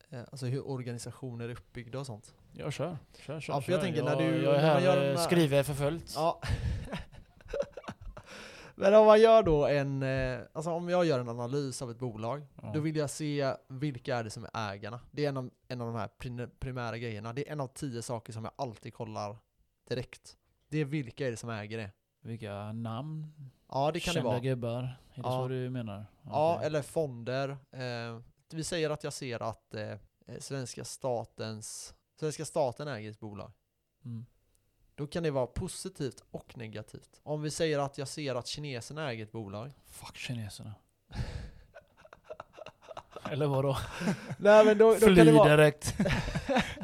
S1: eh, Alltså hur organisationer är uppbyggda och sånt.
S2: Jag kör. Kör, kör,
S1: Ja, för jag
S2: kör.
S1: tänker när du-
S2: jag
S1: när man
S2: är här,
S1: gör de
S2: eh,
S1: här-
S2: skriver förföljt.
S1: Ja. Men om man gör då en, eh, alltså om jag gör en analys av ett bolag,
S2: Ja.
S1: då vill jag se vilka är det som är ägarna. Det är en av, en av de här prim- primära grejerna. Det är en av tio saker som jag alltid kollar direkt. Det är vilka är det som äger det.
S2: Vilka namn?
S1: Ja, det kan
S2: Kända
S1: det vara.
S2: gubbar? Är det
S1: Ja.
S2: så du menar?
S1: Ja,
S2: Okej.
S1: eller fonder. Eh, vi säger att jag ser att eh, eh, svenska, statens, svenska staten äger ett bolag.
S2: Mm.
S1: Då kan det vara positivt och negativt. Om vi säger att jag ser att kineserna äger ett bolag.
S2: Fuck kineserna. eller vadå?
S1: Nej men då, då kan
S2: Fly
S1: det vara...
S2: direkt.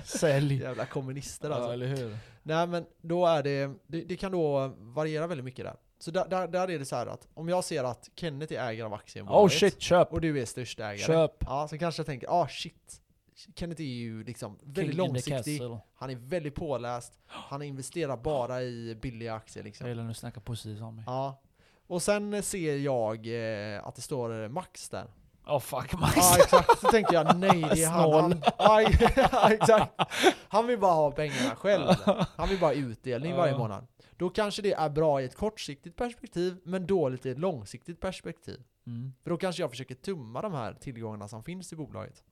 S2: Sälj.
S1: Jävla kommunister
S2: Ja,
S1: alltså.
S2: eller hur?
S1: Nej men då är det, det, det kan då variera väldigt mycket där. Så där, där, där är det så här att om jag ser att Kenneth är ägare av aktien i
S2: Oh
S1: bolaget
S2: shit, köp!
S1: och du är största ägare.
S2: Köp!
S1: Ja, så kanske jag tänker, ah shit. Kenneth är ju liksom väldigt
S2: King in the
S1: långsiktig.
S2: castle.
S1: Han är väldigt påläst. Han investerar bara i billiga aktier
S2: Jag
S1: liksom.
S2: gillar när du snackar positivt om mig.
S1: Ja. Och sen ser jag eh, att det står eh, Max där.
S2: Ja, Oh fuck Max.
S1: Ja exakt, så tänker jag nej det är han. han
S2: Snål.
S1: ja, exakt. Han vill bara ha pengarna själv. Han vill bara ha utdelning varje
S2: Ja.
S1: månad. Då kanske det är bra i ett kortsiktigt perspektiv, men dåligt i ett långsiktigt perspektiv.
S2: Mm.
S1: För då kanske jag försöker tumma de här tillgångarna som finns i bolaget.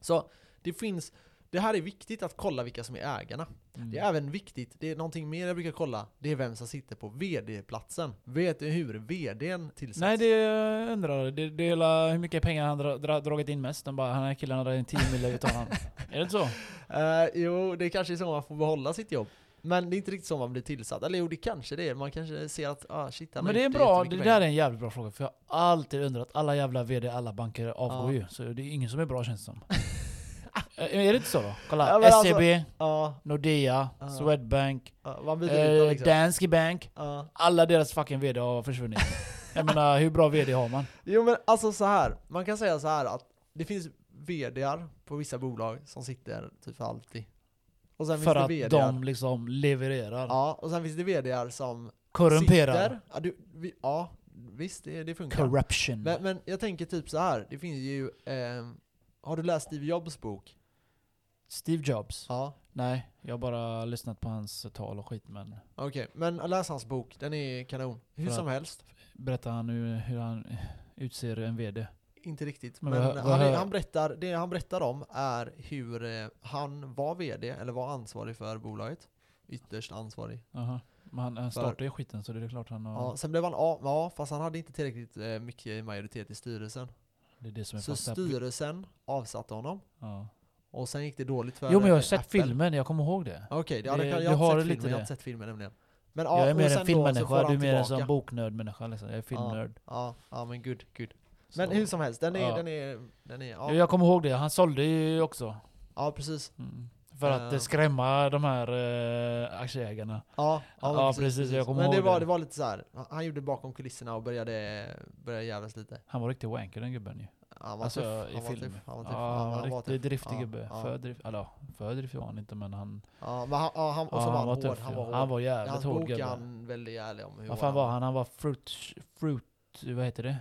S1: Så det finns, det här är viktigt att kolla vilka som är ägarna.
S2: Mm.
S1: Det är även viktigt, det är någonting mer jag brukar kolla, det är vem som sitter på vd-platsen. Vet du hur vdn tillsätts?
S2: Nej det undrar det. Det är la- hur mycket pengar han dra, dra, dragit in mest. Den bara, den här killen har dragit in 10 miljoner utav honom. Är det inte så?
S1: Eh, jo, det kanske är så man får behålla sitt jobb. Men det är inte riktigt så man blir tillsatt. Eller jo, det kanske det är. Man kanske ser att ah, shit, han har
S2: Men det är
S1: gjort
S2: bra, det
S1: jättemycket
S2: där
S1: pengar.
S2: är en jävligt bra fråga. För jag har alltid undrat, alla jävla VD, alla banker
S1: Ja.
S2: avgår ju. Så det är ingen som är bra känns det som. Eh, är det inte så då? Kolla,
S1: Ja, men alltså-
S2: SEB,
S1: Ja,
S2: Nordea,
S1: Ja.
S2: Swedbank,
S1: ja, man byter ut dem
S2: eh,
S1: liksom.
S2: Danske Bank.
S1: Ja.
S2: Alla deras fucking VD har försvunnit. jag menar, hur bra VD har man?
S1: Jo men alltså så här. man kan säga så här att det finns VDar på vissa bolag som sitter typ för alltid. Och sen
S2: För
S1: finns
S2: att
S1: det VDar.
S2: de liksom levererar.
S1: Ja, och sen finns det VDar som
S2: Korrumperar.
S1: sitter. Ja, du, vi, ja visst, det, det funkar.
S2: Corruption.
S1: Men, men jag tänker typ så här. det finns ju... ehm, har du läst Steve Jobs bok?
S2: Steve Jobs.
S1: Ja.
S2: Nej, jag har bara lyssnat på hans tal och skit men
S1: Okej, men läs hans bok. Den är kanon. Hur
S2: För
S1: som helst.
S2: berättar han nu hur han eh, utser en VD?
S1: Inte riktigt. Men,
S2: Men vad- vad
S1: han, är,
S2: hör-
S1: han berättar, det han berättar om är hur eh, han var VD, eller var ansvarig för bolaget. Ytterst ansvarig.
S2: Aha. Men han, han
S1: För-
S2: startar ju skiten så det är klart han har...
S1: Ja. sen blev han av, ja, fast han hade inte tillräckligt eh, mycket majoritet i styrelsen.
S2: det är det som är
S1: Så
S2: fakta.
S1: styrelsen avsatte honom.
S2: Ja.
S1: Och sen gick det dåligt för
S2: Jo men jag har
S1: eh,
S2: sett
S1: Apple.
S2: filmen, jag kommer ihåg det.
S1: Okej, det- ja,
S2: Det-
S1: det, kan-
S2: du
S1: jag, har
S2: har
S1: inte sett
S2: lite
S1: filmen, jag har
S2: det.
S1: inte sett filmen nämligen. Men, ja,
S2: Jag är
S1: och
S2: mer
S1: sen
S2: en
S1: då så får
S2: filmmänniska,
S1: han
S2: du är mer en
S1: tillbaka.
S2: sån boknördmänniska. Liksom. Jag är filmnörd.
S1: Ja, ja men gud, gud. Men
S2: Så.
S1: hur som helst, den är,
S2: Ja.
S1: den är, den är,
S2: Jo,
S1: ja,
S2: Jag kommer ihåg det, han sålde ju också.
S1: ja precis.
S2: Mm. För att
S1: Eh.
S2: eh, skrämma de här eh, aktieägarna.
S1: Ja, ja,
S2: Ja, precis, jag kommer
S1: Men det
S2: ihåg
S1: var,
S2: det.
S1: det var lite så här. han- han gjorde bakom kulisserna och började, började jävlas lite.
S2: Han var riktigt wanker den gubben ju.
S1: Han var
S2: Alltså
S1: tuff, han
S2: i
S1: var
S2: film.
S1: tuff, han var tuff.
S2: ja, han var riktigt
S1: tuff.
S2: driftig
S1: Ja,
S2: gubbe.
S1: ja.
S2: För drift, eller ja, för driftig var han inte men han...
S1: Ja, men han, ja, han, och så var han, hård,
S2: tuff,
S1: han
S2: ja.
S1: var hård.
S2: Han var
S1: I
S2: jävligt
S1: hans
S2: hård
S1: bok är
S2: gubbe.
S1: han väldigt ärlig om hur
S2: Vad
S1: hård
S2: fan var han? Han var fruit... fruit vad heter det?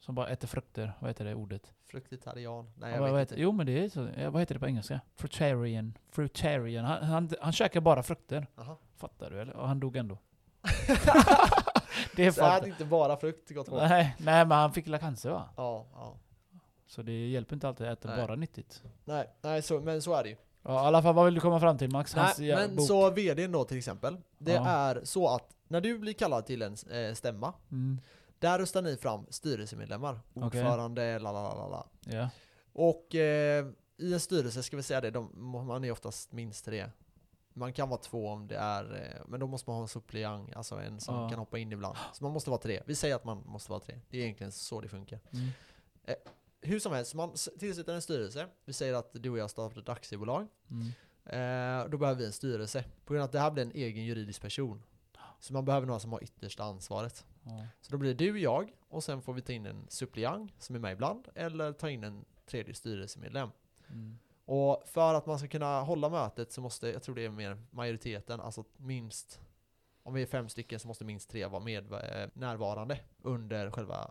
S2: Som bara äter frukter. Vad heter det ordet?
S1: Fruktitarian. Nej,
S2: Ja,
S1: jag
S2: vad, vad
S1: vet
S2: heter,
S1: inte.
S2: jo men det är så. ja, Vad heter det på engelska? Fruitarian. Fruitarian. Han, han, han käkar bara frukter.
S1: Jaha.
S2: Fattar du eller? Och han dog ändå. det är
S1: Så han
S2: fan...
S1: hade inte bara frukt, gott folk.
S2: Nej, nej men han fick la cancer va?
S1: Ja, ja.
S2: Så det hjälper inte alltid att äta
S1: Nej.
S2: bara nyttigt.
S1: Nej, nej så, men så är det ju.
S2: Ja, i alla fall, vad vill du komma fram till Max? Hans
S1: Nej,
S2: jävla
S1: men
S2: bok.
S1: så vdn då till exempel. Det
S2: Ja.
S1: är så att när du blir kallad till en eh, stämma,
S2: Mm.
S1: där röstar ni fram styrelsemedlemmar.
S2: Okej.
S1: Ordförande, la la la la, la.
S2: Ja.
S1: Och eh, i en styrelse ska vi säga det, de, man är oftast minst tre. Man kan vara två om det är, eh, men då måste man ha en suppleant, alltså en som
S2: Ja.
S1: kan hoppa in ibland. Så man måste vara tre. Vi säger att man måste vara tre. Det är egentligen så det funkar.
S2: Mm.
S1: Hur som helst, man s- tillsätter en styrelse. Vi säger att du och jag startar ett aktiebolag.
S2: Mm.
S1: Eh, då behöver vi en styrelse. På grund av att det här blir en egen juridisk person. Så man behöver några som har yttersta ansvaret.
S2: Ja.
S1: Så då blir det du, jag och sen får vi ta in en suppleant som är med ibland. Eller ta in en tredje styrelsemedlem.
S2: Mm.
S1: Och för att man ska kunna hålla mötet så måste, jag tror det är mer majoriteten, alltså minst, om vi är fem stycken så måste minst tre vara med, eh, närvarande under själva,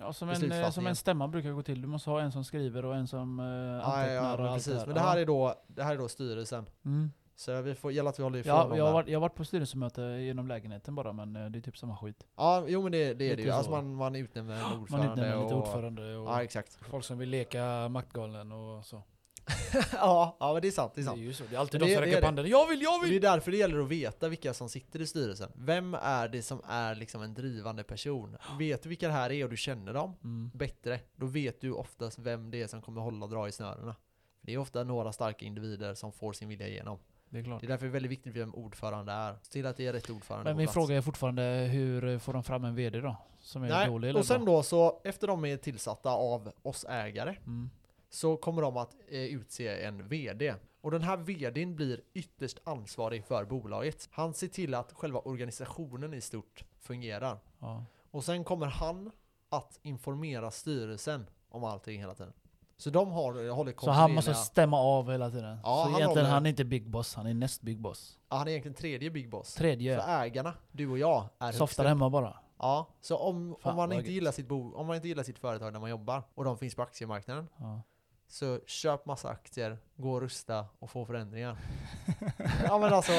S2: Ja, som, en, eh, som
S1: Beslutsfattningen.
S2: en stämma brukar gå till. Du måste ha en som skriver och en som eh,
S1: ja,
S2: antecknar
S1: ja,
S2: och
S1: men
S2: allt
S1: precis.
S2: det här.
S1: Men det här, är då, det här är då styrelsen.
S2: Ja. Mm.
S1: Så vi får, gäller att vi håller ifrån
S2: Ja,
S1: dem
S2: jag, har
S1: där.
S2: varit, jag har varit på styrelsemöte genom lägenheten bara, men eh, det är typ samma skit.
S1: Ja, jo men det, det är
S2: Lite
S1: det ju. Alltså
S2: så.
S1: man, man utnämner en
S2: Man
S1: ordförande
S2: utnämner lite
S1: och,
S2: ordförande och
S1: Ja, exakt.
S2: folk som vill leka maktgalen och så.
S1: ja, ja, men det är sant. Det är
S2: Det är
S1: sant.
S2: ju så. Det är alltid
S1: Men
S2: de
S1: det-
S2: som
S1: det
S2: räcker
S1: är
S2: upp
S1: det.
S2: handen. Jag vill, jag
S1: Och det är
S2: vill!
S1: därför det gäller att veta vilka som sitter i styrelsen. Vem är det som är liksom en drivande person? Vet du vilka det här är och du känner dem?
S2: Mm.
S1: bättre, då vet du oftast vem det är som kommer hålla och dra i snörena. För det är ofta några starka individer som får sin vilja igenom.
S2: Det är klart.
S1: Det är därför det är väldigt viktigt vem ordförande är. Se till att det är rätt ordförande
S2: Men
S1: på
S2: min
S1: plats.
S2: fråga är fortfarande, hur får de fram en VD då? Som är dålig
S1: Nej,
S2: eller
S1: och sen
S2: bra?
S1: då så, efter de är tillsatta av oss ägare,
S2: Mm.
S1: så kommer de att eh, utse en VD. Och den här VDn blir ytterst ansvarig för bolaget. Han ser till att själva organisationen i stort fungerar.
S2: Ja.
S1: Och sen kommer han att informera styrelsen om allting hela tiden. Så de har, eh, håller
S2: Så han måste
S1: kontinuerliga-
S2: stämma av hela tiden.
S1: Ja,
S2: så
S1: han
S2: egentligen
S1: håller-
S2: han är inte big boss, han är näst big boss.
S1: Ja, han är egentligen tredje Big Boss.
S2: Tredje.
S1: För ägarna, du och jag, är
S2: Softar
S1: högst
S2: hemma bara.
S1: Ja, så om,
S2: Fan,
S1: om, man
S2: vad
S1: inte
S2: gött.
S1: gillar sitt bo, om man inte gillar sitt företag där man jobbar och de finns på aktiemarknaden
S2: Ja.
S1: så köp massa aktier, gå och rusta och få förändringar. ja men alltså,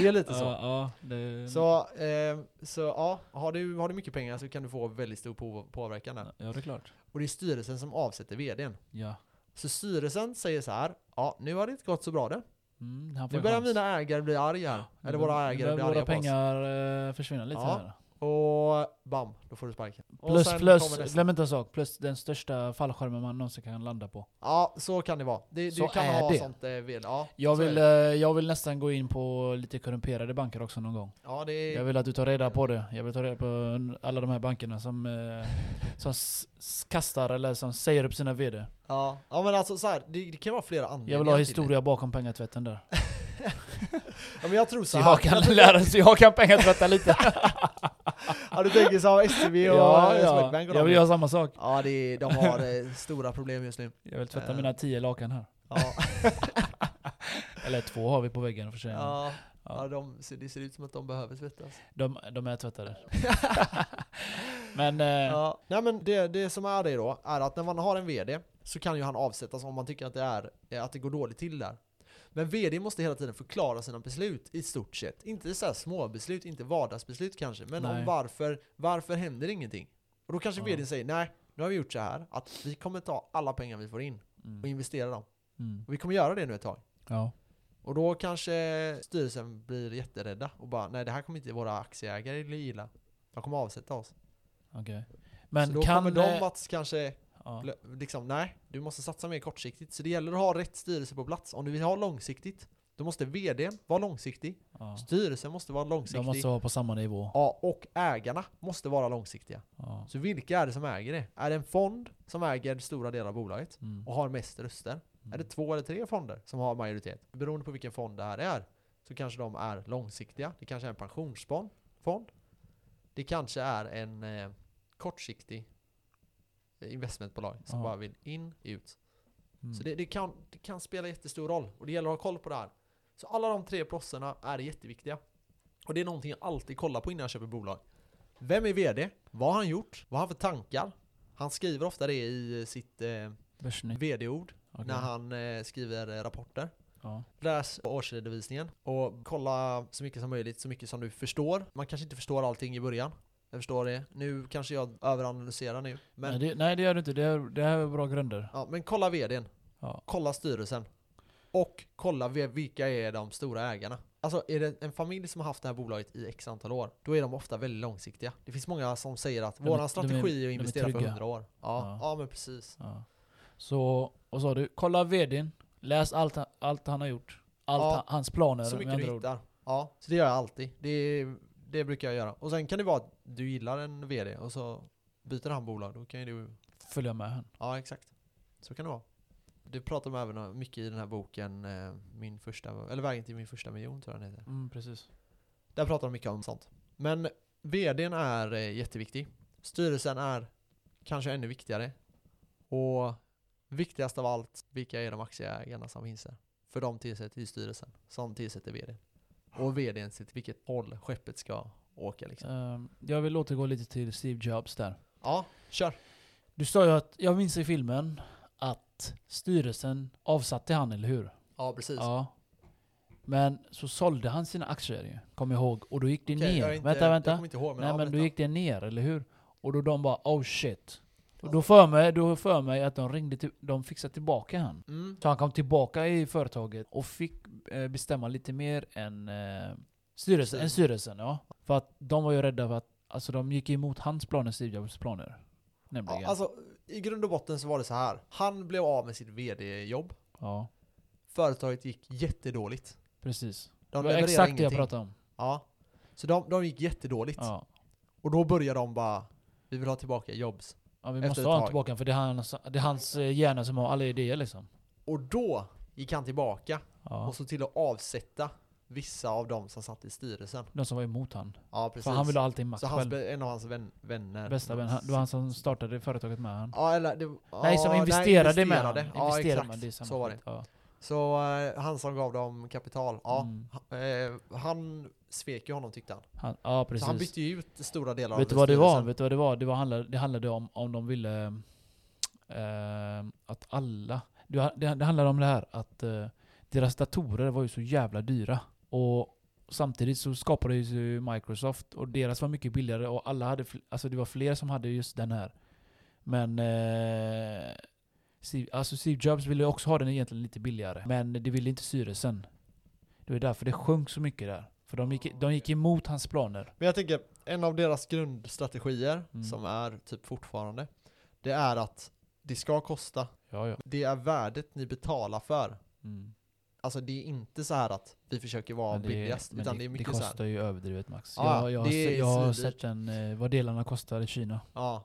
S1: det är lite så.
S2: Ja, ja, det,
S1: Så, eh, så ja, har du, har du mycket pengar så kan du få väldigt stor på- påverkan där.
S2: ja, det är klart.
S1: Och det är styrelsen som avsätter vdn.
S2: Ja.
S1: Så styrelsen säger så här, ja nu har det inte gått så bra det.
S2: Mm, han får
S1: Nu
S2: en
S1: börjar
S2: chans.
S1: mina ägare bli arga här.
S2: Nu
S1: Eller
S2: bör-
S1: våra
S2: nu
S1: ägare
S2: bör
S1: blir
S2: Våra
S1: arga på oss.
S2: pengar eh, försvinna lite
S1: Ja.
S2: här.
S1: Och bam, då får du sparken. Och
S2: Plus,
S1: sen kommer
S2: plus,
S1: nästa.
S2: glöm inte en sak, plus den största fallskärmen man någonsin kan landa på.
S1: Ja, så kan det vara. Det, du
S2: Så
S1: kan
S2: är
S1: ha
S2: det.
S1: sånt eh, vill. Ja,
S2: Jag
S1: så är
S2: vill, eh,
S1: det.
S2: jag vill nästan gå in på lite korrumperade banker också någon gång.
S1: Ja, det är...
S2: Jag vill att du tar reda på det. Jag vill ta reda på n- alla de här bankerna som, eh, som s- s- kastar eller som säger upp sina
S1: Mm.
S2: VD.
S1: Ja. ja, men alltså så här, det, det kan vara flera anledningar
S2: Jag vill ha
S1: till
S2: historia bakom pengatvätten där.
S1: Alltså, det. Ja, men jag tror så
S2: Så
S1: här.
S2: jag kan lära så jag kan pengatvätta lite.
S1: Ja, du tänker som SEB och
S2: ja,
S1: eh,
S2: ja.
S1: Swedbank och
S2: Jag
S1: de.
S2: vill göra samma sak.
S1: Ja, det är, de har eh, stora problem just nu.
S2: Jag vill tvätta
S1: Eh.
S2: mina tio lakan här.
S1: Ja,
S2: Eller två har vi på väggen för sig.
S1: ja,
S2: Ja.
S1: ja de, ser- det ser ut som att de behöver svettas.
S2: De, de är tvättade. Men eh,
S1: Ja. Nej men det, det som är det då, är att när man har en VD så kan ju han avsättas om man tycker att det, är, eh, att det går dåligt till där. Men VD måste hela tiden förklara sina beslut i stort sett. Inte så här små beslut, inte vardagsbeslut kanske, men
S2: Nej.
S1: om varför, varför händer ingenting? Och då kanske
S2: Ja.
S1: VDn säger nej, nu har vi gjort så här att vi kommer ta alla pengar vi får in och
S2: mm,
S1: investera dem.
S2: mm,
S1: Och vi kommer göra det nu ett tag.
S2: ja.
S1: Och då kanske styrelsen blir jätterädda och bara nej det här kommer inte våra aktieägare gilla. De kommer avsätta oss.
S2: Okej.
S1: så
S2: Men
S1: då
S2: kan...
S1: kommer
S2: eh,
S1: de att kanske
S2: ja.
S1: Lö- Liksom, nej, du måste satsa mer kortsiktigt. Så det gäller att ha rätt styrelse på plats. Om du vill ha långsiktigt, då måste vd vara långsiktig.
S2: Ja.
S1: Styrelsen måste vara
S2: De
S1: långsiktig.
S2: måste vara på samma nivå.
S1: Ja, och ägarna måste vara långsiktiga.
S2: Ja.
S1: Så vilka är det som äger det? Är det en fond som äger stora delar av bolaget
S2: Mm.
S1: och har mest röster? Är det två eller tre fonder som har majoritet? Beroende på vilken fond det här är så kanske de är långsiktiga. Det kanske är en pensionsfond. fond. Det kanske är en eh, kortsiktig eh, investmentbolag som
S2: Ja.
S1: bara vill in, ut.
S2: Mm.
S1: Så det, det, kan, det kan spela jättestor roll och det gäller att ha koll på det här. Så alla de tre plosserna är jätteviktiga. Och det är någonting jag alltid kollar på innan jag köper bolag. Vem är VD? Vad har han gjort? Vad har han för tankar? Han skriver ofta det i sitt eh,
S2: Börsnytt.
S1: VD-ord
S2: Okej.
S1: när han eh, skriver eh, rapporter.
S2: Ja.
S1: Läs årsredovisningen och kolla så mycket som möjligt, så mycket som du förstår. Man kanske inte förstår allting i början. Jag förstår det. Nu kanske jag överanalyserar nu. Men,
S2: Nej, det, nej det gör du inte. Det, här- det här är bra grunder.
S1: ja, men kolla vdn,
S2: Ja.
S1: kolla styrelsen och kolla vi- vilka är de stora ägarna. Alltså är det en familj som har haft det här bolaget i x antal år, då är de ofta väldigt långsiktiga. Det finns många som säger att
S2: De är- de är-
S1: vår strategi är att
S2: de är
S1: investera för
S2: trygga.
S1: 100 år.
S2: Ja.
S1: Ja, ja men precis.
S2: Ja. Så, och sa du, kolla VDn. Läs allt, han- allt han har gjort. Allt
S1: Ja.
S2: han- hans planer
S1: Så
S2: med
S1: mycket
S2: andra
S1: du
S2: ord.
S1: hittar. Ja, så det gör jag alltid. Det, det brukar jag göra. Och sen kan det vara att du gillar en VD och så byter han bolag. Då kan ju du...
S2: Följa med han.
S1: Ja, exakt. Så kan det vara. Du pratar om även om- mycket i den här boken, eh, min första, eller Vägen till min första miljon tror jag den heter.
S2: Mm, precis.
S1: Där pratar de mycket om sånt. Men VDn är eh, jätteviktig. Styrelsen är kanske ännu viktigare. Och viktigast av allt, vilka är de aktieägarna som finns där? För de tillsätter i styrelsen, som tillsätter VD. Och VDn ser till vilket håll skeppet ska åka liksom.
S2: Ehm, jag vill återgå lite till Steve Jobs där.
S1: Ja, kör!
S2: Du sa ju att, jag minns i filmen, att styrelsen avsatte han, eller hur?
S1: Ja, precis.
S2: Ja. Men så sålde han sina aktier ju, kommer jag ihåg. Och då gick det
S1: Okej, jag
S2: ner.
S1: är inte-
S2: vänta,
S1: Jag
S2: vänta.
S1: kommer inte ihåg, men,
S2: Nej
S1: ja,
S2: men då
S1: vänta.
S2: gick det ner, eller hur? Och då de bara oh shit. Och då
S1: Alltså-
S2: för mig, då för mig att de ringde till, de fixade tillbaka han.
S1: Mm.
S2: Så han kom tillbaka i företaget och fick eh, bestämma lite mer än eh, styrelsen,
S1: Styrelsen.
S2: än styrelsen ja. För att de var ju rädda för att, alltså de gick emot hans planer, Steve Jobs planer. Nämligen.
S1: Ja,
S2: Ja,
S1: alltså, I grund och botten så var det så här. Han blev av med sitt VD-jobb. Företaget gick jättedåligt.
S2: precis.
S1: De
S2: det var
S1: levererade
S2: exakt det jag
S1: ingenting.
S2: pratade om.
S1: Ja. Så de, de gick jättedåligt.
S2: Ja.
S1: Och då börjar de bara, vi vill ha tillbaka Jobs.
S2: Ja, vi
S1: Efter
S2: måste
S1: ett
S2: ha honom
S1: tag.
S2: tillbaka för det är, hans, det är hans eh, hjärna som har alla idéer liksom.
S1: Och då gick han tillbaka
S2: Ja.
S1: och såg till att avsätta vissa av dem som satt i styrelsen.
S2: De som var emot han.
S1: Ja, precis.
S2: För han ville ha allting makt
S1: Så hans,
S2: själv.
S1: be- en av hans vän, vänner.
S2: Bästa vän. Han- Det var han som startade företaget med han.
S1: Ja, eller, det,
S2: nej,
S1: ja,
S2: som investerade, med han.
S1: investerade. Ja,
S2: Investerade
S1: exakt.
S2: med, det är samma
S1: så var det.
S2: skit. Ja.
S1: Så eh, han som gav dem kapital, ja.
S2: Mm.
S1: ha- eh, Han svek ju honom tyckte han.
S2: Han, ja precis.
S1: Så han bytte ju ut stora delar
S2: Vet du
S1: av
S2: vad det var?
S1: styrelsen.
S2: Vet du vad det var? Det, var handlade, det handlade om om de ville eh, att alla... Det, var- det, det handlade om det här att eh, deras datorer var ju så jävla dyra. Och samtidigt så skapade ju så Microsoft och deras var mycket billigare och alla hade... fl- Alltså det var fler som hade just den här. Men... Eh, Steve, alltså Steve Jobs ville också ha den egentligen lite billigare. Men det ville inte styrelsen. Det var därför det sjönk så mycket där. För de gick, de gick emot hans planer.
S1: Men jag tänker, en av deras grundstrategier
S2: Mm.
S1: som är typ fortfarande, det är att det ska kosta.
S2: Ja, ja.
S1: Det är värdet ni betalar för.
S2: Mm.
S1: Alltså det är inte så här att vi försöker vara
S2: Men det-
S1: billigast,
S2: men
S1: utan
S2: det,
S1: det är mycket
S2: det
S1: så här.
S2: kostar ju överdrivet max.
S1: Ja,
S2: jag, jag, har
S1: det
S2: se-
S1: är
S2: jag har
S1: svindyrt.
S2: sett en, eh, vad delarna kostar i Kina.
S1: Ja,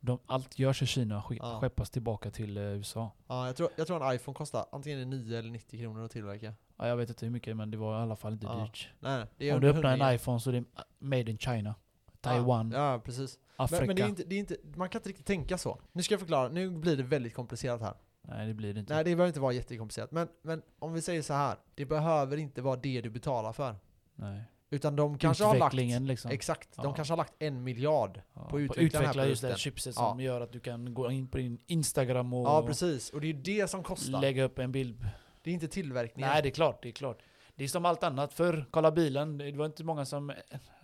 S2: De, allt görs i Kina ske,
S1: Ja.
S2: skeppas tillbaka till eh, USA.
S1: ja jag, tror, jag tror en iPhone kostar antingen 9 eller 90 kronor att tillverka.
S2: Ja, jag vet inte hur mycket men det var i alla fall inte
S1: Ja,
S2: dyrt.
S1: Nej, det är
S2: Om du
S1: under
S2: öppnar en
S1: 100.
S2: iPhone så är det eh, made in China. Taiwan,
S1: Ja, ja precis.
S2: Afrika.
S1: Men, men det är inte, det är inte, man kan inte riktigt tänka så. Nu ska jag förklara, nu blir det väldigt komplicerat här.
S2: Nej det blir det inte.
S1: Nej, det behöver inte vara jättekomplicerat. Men, men om vi säger så här, det behöver inte vara det du betalar för.
S2: Nej.
S1: Utan de kanske har lagt,
S2: Utvecklingen liksom.
S1: exakt, de
S2: Ja.
S1: kanske har lagt en miljard.
S2: Ja,
S1: på
S2: på
S1: utveckla
S2: utveckla,
S1: den här
S2: just det här
S1: produkten.
S2: chipset
S1: Ja.
S2: som gör att du kan gå in på din Instagram och
S1: Ja, precis. Och det är ju det som kostar.
S2: lägga upp en bild
S1: det är inte tillverkningen.
S2: Nej, det är klart. Det är klart. Det är som allt annat förr. Kolla bilen. Det var inte många som,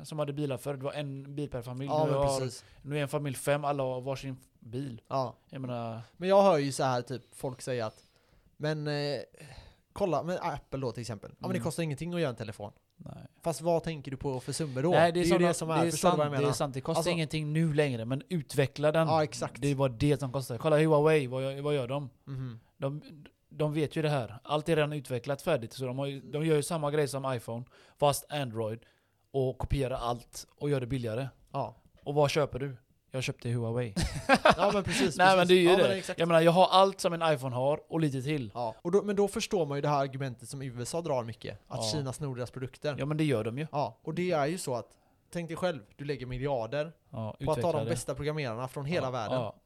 S2: som hade bilar förr. Det var en bil per familj.
S1: ja,
S2: nu,
S1: men
S2: har,
S1: precis.
S2: nu är en familj fem. Alla har varsin bil.
S1: Ja.
S2: Jag menar,
S1: Men jag hör ju så här typ folk säga att, men eh, kolla, men Apple då till exempel. Ja, men det
S2: Mm.
S1: kostar ingenting att göra en telefon.
S2: nej.
S1: Fast vad tänker du på för summor då?
S2: nej
S1: det är ju det som är,
S2: det är,
S1: förstår du
S2: sant,
S1: vad jag
S2: det
S1: menar?
S2: är sant. Det kostar
S1: Alltså-
S2: ingenting nu längre, men utveckla den.
S1: Ja, exakt.
S2: Det var det som kostade. Kolla Huawei, vad gör, vad gör de?
S1: Mhm.
S2: de? De vet ju det här. Allt är redan utvecklat färdigt. Så de, har, ju- de gör ju samma grej som iPhone, fast Android. Och kopierar allt och gör det billigare.
S1: Ja.
S2: Och vad köper du? Jag köpte Huawei.
S1: ja, men precis.
S2: Nej men
S1: precis.
S2: det är ju
S1: ja,
S2: det.
S1: Men exakt.
S2: jag menar jag har allt som en iPhone har och lite till.
S1: Ja. Och då, men då förstår man ju det här argumentet som USA drar mycket. Att
S2: Ja.
S1: Kina snor deras produkter.
S2: Ja men det gör de ju.
S1: Ja, och det är ju så att Tänk dig själv, du lägger miljarder
S2: Ja,
S1: på att ta
S2: utveckla
S1: de
S2: det.
S1: bästa programmerarna från hela
S2: ja,
S1: världen
S2: Ja.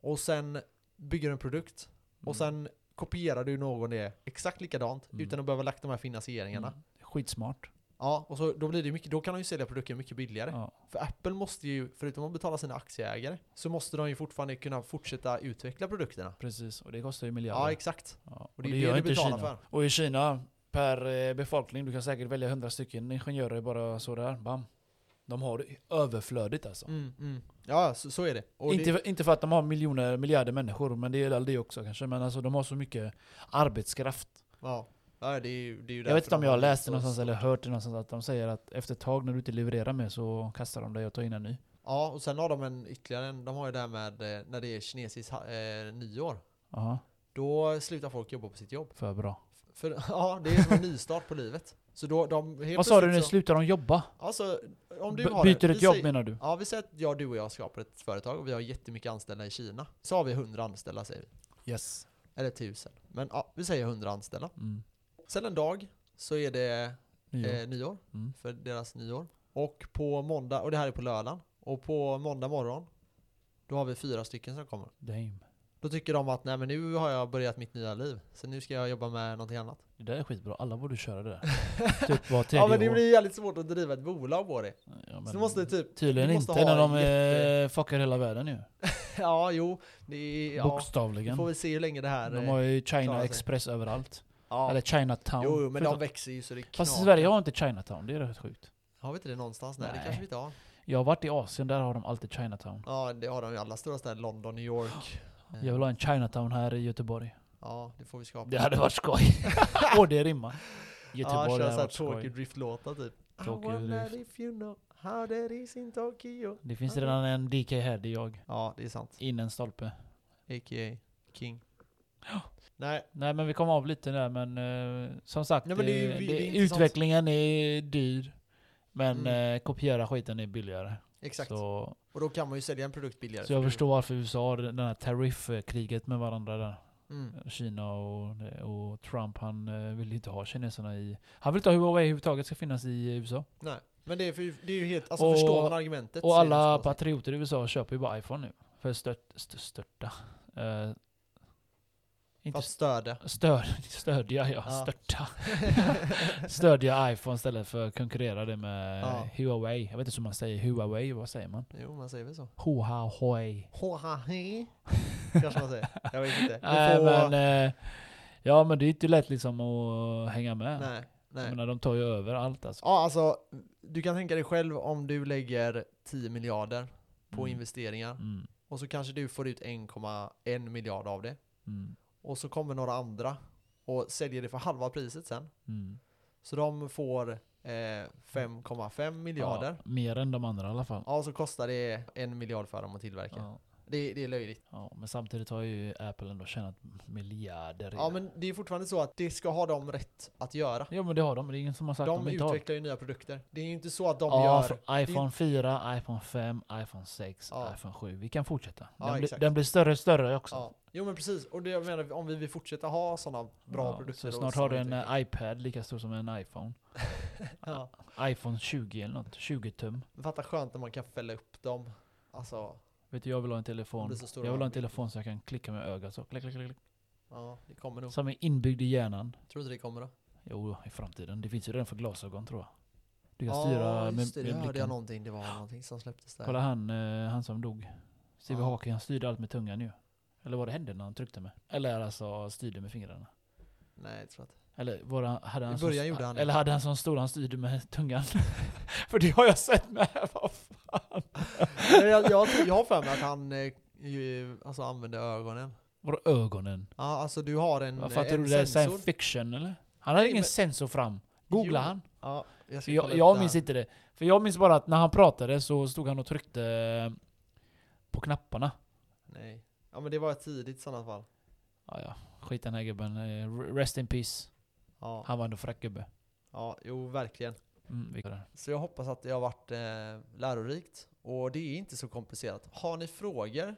S1: och sen bygger du en produkt
S2: Mm.
S1: och sen kopierar du någon det exakt likadant
S2: Mm.
S1: utan att behöva lagt de här finansieringarna.
S2: Mm. Skitsmart.
S1: Ja, och så, då, blir det mycket, då kan de ju sälja produkten mycket billigare.
S2: Ja.
S1: För Apple måste ju, förutom att betala sina aktieägare, så måste de ju fortfarande kunna fortsätta utveckla produkterna.
S2: Precis, och det kostar ju
S1: Ja,
S2: miljarder.
S1: exakt.
S2: Ja.
S1: Och det är det du betalar
S2: Kina.
S1: för.
S2: Och i Kina, per eh, befolkning, du kan säkert välja 100 stycken ingenjörer bara sådär. Bam. De har det överflödigt alltså.
S1: Mm, mm. Ja, så, så är det. Och
S2: Inte,
S1: det
S2: för, inte för att de har miljoner, miljarder människor, men det är väl det också kanske. Men alltså de har så mycket arbetskraft.
S1: ja, ja, det är ju, det är ju
S2: Jag vet
S1: därför
S2: inte om
S1: de
S2: jag
S1: har
S2: har läst det
S1: så-
S2: någonstans eller hört det någonstans att de säger att efter ett tag när du inte levererar mer så kastar de dig och tar in en ny.
S1: Ja, och sen har de en ytterligare en. De har ju det här med eh, när det är kinesiskt ha- eh, nyår.
S2: Jaha,
S1: Då slutar folk jobba på sitt jobb.
S2: för bra.
S1: För ja, det är som en nystart på livet. Så då de... helt
S2: Vad sa du
S1: plötsligt
S2: nu?
S1: så-
S2: Slutar de jobba?
S1: Alltså, om du
S2: B-
S1: har
S2: byter
S1: det,
S2: ett
S1: vi
S2: jobb
S1: säger-
S2: menar du?
S1: Ja, vi säger att jag, du och jag skapar ett företag och vi har jättemycket anställda i Kina. Så har vi 100 anställda säger vi.
S2: Yes.
S1: Eller 1000. Men ja, vi säger 100 anställda.
S2: Mm.
S1: Sen en dag så är det
S2: Nyår.
S1: eh, nyår,
S2: Mm.
S1: för deras nyår. Och på måndag, och det här är på lördagen, och på måndag morgon, då har vi fyra stycken som kommer.
S2: Damn.
S1: Då tycker de att nej men nu har jag börjat mitt nya liv, så nu ska jag jobba med någonting annat.
S2: Det där är skitbra, alla borde köra det där. typ var tredje
S1: Ja men det
S2: år.
S1: blir jävligt svårt att driva ett bolag på det.
S2: Ja, men
S1: Så du måste typ,
S2: Tydligen
S1: du måste
S2: inte
S1: ha
S2: när de
S1: en jätte-
S2: eh, fuckar hela världen ju.
S1: ja jo, det är, ja, vi
S2: Bokstavligen.
S1: får vi se hur länge det här...
S2: De
S1: eh,
S2: har ju
S1: klarar
S2: China
S1: sig.
S2: Express överallt.
S1: ja.
S2: Eller Chinatown.
S1: Jo, jo men de
S2: Förutom-
S1: växer ju så det
S2: Fast i
S1: knakar.
S2: Sverige har inte Chinatown, det är rätt sjukt.
S1: Har vi inte det någonstans? Nej, det
S2: Nej.
S1: kanske vi inte har.
S2: Jag har varit i Asien, där har de alltid Chinatown.
S1: Ja, det har de ju i alla stora städer. London, New York. Eh,
S2: Jag vill ha en Chinatown här i Göteborg.
S1: Ja, det får vi skapa.
S2: Det hade varit skoj. Och det rimmar. Göteborg
S1: ja,
S2: hade
S1: köra såhär
S2: varit
S1: Tokyo
S2: skoj.
S1: Drift-låtar typ.
S2: Tokyo
S1: I wonder
S2: Drift.
S1: if you know how that is in Tokyo.
S2: Det finns redan en DK här, det är jag.
S1: Ja, det är sant.
S2: In en stolpe.
S1: A.k.a. King. Nej,
S2: Nej men vi kom av lite där men eh, som sagt,
S1: Nej, men det är ju-
S2: eh,
S1: det är
S2: det-
S1: intressant.
S2: utvecklingen är dyr. Men
S1: Mm.
S2: eh, kopiera skiten är billigare.
S1: exakt.
S2: Så,
S1: Och då kan man ju sälja en produkt billigare.
S2: så
S1: för
S2: jag
S1: det-
S2: förstår varför USA har den här tariffkriget med varandra där.
S1: Mm.
S2: Kina och, och Trump, han eh, vill ju inte ha kineserna i... Han vill inte ha Huawei överhuvudtaget ska finnas i USA.
S1: Nej, men det är, för, det är ju helt... Alltså
S2: Och-
S1: förstår man argumentet så
S2: Och
S1: är det så
S2: alla
S1: att säga.
S2: patrioter i USA köper ju bara iPhone nu. För att stört, st- störta. Eh, Inte
S1: Fast stödja.
S2: stör, stödja, ja.
S1: Ja.
S2: Störta. stödja iPhone istället för att konkurrera det med
S1: Ja.
S2: Huawei. Jag vet inte hur man säger Huawei, vad säger man?
S1: jo, man säger väl så.
S2: Huawei.
S1: Hohahi, kanske man säger. Jag vet inte.
S2: Nej
S1: Du får-
S2: men... eh, Ja men det är inte lätt liksom att hänga med.
S1: nej,
S2: Jag
S1: nej.
S2: menar, de tar ju över allt alltså.
S1: Ja, alltså, du kan tänka dig själv om du lägger 10 miljarder på
S2: Mm.
S1: investeringar
S2: Mm,
S1: och så kanske du får ut 1,1 miljard av det.
S2: mm,
S1: Och så kommer några andra och säljer det för halva priset sen.
S2: mm.
S1: Så de får eh, 5,5 miljarder.
S2: Ja, mer än de andra i alla fall.
S1: Ja, och så kostar det en miljard för dem att tillverka.
S2: Ja,
S1: Det, det är löjligt.
S2: ja, men samtidigt har ju Apple ändå tjänat miljarder.
S1: Ja,
S2: redan.
S1: men det är fortfarande så att det ska ha dem rätt att göra.
S2: ja men det har de. Det är ingen som har sagt att
S1: De
S2: de inte har.
S1: utvecklar ju nya produkter. Det är ju inte så att de
S2: ja,
S1: gör...
S2: från iPhone 4, iPhone 5, iPhone 6,
S1: Ja.
S2: iPhone 7. Vi kan fortsätta.
S1: Ja,
S2: Den, blir,
S1: exakt.
S2: den blir större och större också.
S1: Ja. Jo men precis, och det jag menar om vi vill fortsätta ha sådana bra
S2: Ja,
S1: produkter.
S2: Så
S1: och
S2: snart
S1: sån
S2: har du en
S1: utveckling.
S2: eh, iPad lika stor som en iPhone.
S1: Ja.
S2: iPhone 20 eller något. 20 tum.
S1: Men fatta skönt när man kan fälla upp dem. Alltså,
S2: Vet du, jag vill ha en
S1: De
S2: telefon.
S1: blir så
S2: Jag
S1: stora.
S2: vill ha en telefon så jag kan klicka med ögat så. Klick, klick, klick, klick.
S1: ja det kommer nog.
S2: Som är inbyggd i hjärnan.
S1: Tror du det kommer då?
S2: Jo, i framtiden. Det finns ju redan för glasögon tror jag. Du kan
S1: ja,
S2: styra med,
S1: just det, det
S2: med
S1: hörde jag
S2: blicken.
S1: någonting. Det var någonting som släpptes där.
S2: Kolla han, eh, han som dog. Stevie
S1: Ja.
S2: Hawking, han styrde allt med tungan ju. Eller vad det hände när han tryckte med. Eller alltså styrde med fingrarna.
S1: Nej, jag tror inte.
S2: Eller var det, hade han
S1: I
S2: som-
S1: början gjorde han det.
S2: Eller hade han som stor han styrde med tungan? För det har jag sett med. Vad fan?
S1: Nej, jag, jag, tror- jag har för mig att han eh, ju, alltså, använde ögonen.
S2: Vadå ögonen?
S1: Ja, alltså du har en,
S2: Vad
S1: eh,
S2: fattar
S1: en
S2: du? Det är
S1: sensor.
S2: science fiction eller? Han hade
S1: Nej,
S2: ingen
S1: men-
S2: sensor fram. Googla
S1: Jo,
S2: han.
S1: Ja, jag
S2: För
S1: ska kolla
S2: Jag,
S1: upp det
S2: jag
S1: här.
S2: minns inte det. För jag minns bara att när han pratade så stod han och tryckte eh, på knapparna.
S1: Nej. Ja men det var tidigt i sådana fall.
S2: Ja, ja. Skit den här gubben. Eh, Rest in peace.
S1: Ja,
S2: Han var ändå fräck gubbe.
S1: ja jo verkligen.
S2: Mm, vi går där.
S1: Så jag hoppas att det har varit eh, lärorikt. Och det är inte så komplicerat. Har ni frågor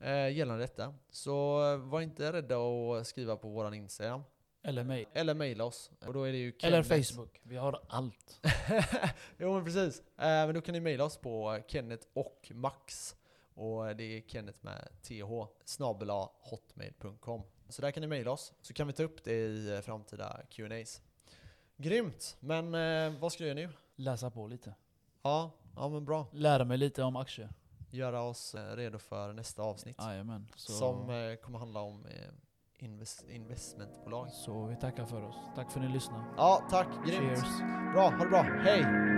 S1: eh, gällande detta så eh, var inte rädda att skriva på våran Instagram.
S2: Eller mig.
S1: Eller mejla oss. Och då är det ju
S2: Eller
S1: Kenneth-
S2: Facebook. Vi har allt.
S1: jo men precis. Eh, men då kan ni mejla oss på eh, Kenneth och Max. Och eh, det är Kenneth med TH snabel hotmail.com. Så där kan ni mejla oss. Så kan vi ta upp det i eh, framtida Q&As. Grymt! Men eh, vad ska jag göra nu?
S2: Läsa på lite.
S1: Ja, ja men bra.
S2: Lära mig lite om aktier.
S1: göra oss eh, redo för nästa avsnitt.
S2: Jajamän. Så,
S1: Som eh, kommer handla om eh, invest investmentbolag.
S2: så vi tackar för oss. Tack för att ni lyssnade.
S1: Ja, tack. Grymt.
S2: Cheers.
S1: Bra, ha det bra. Hej!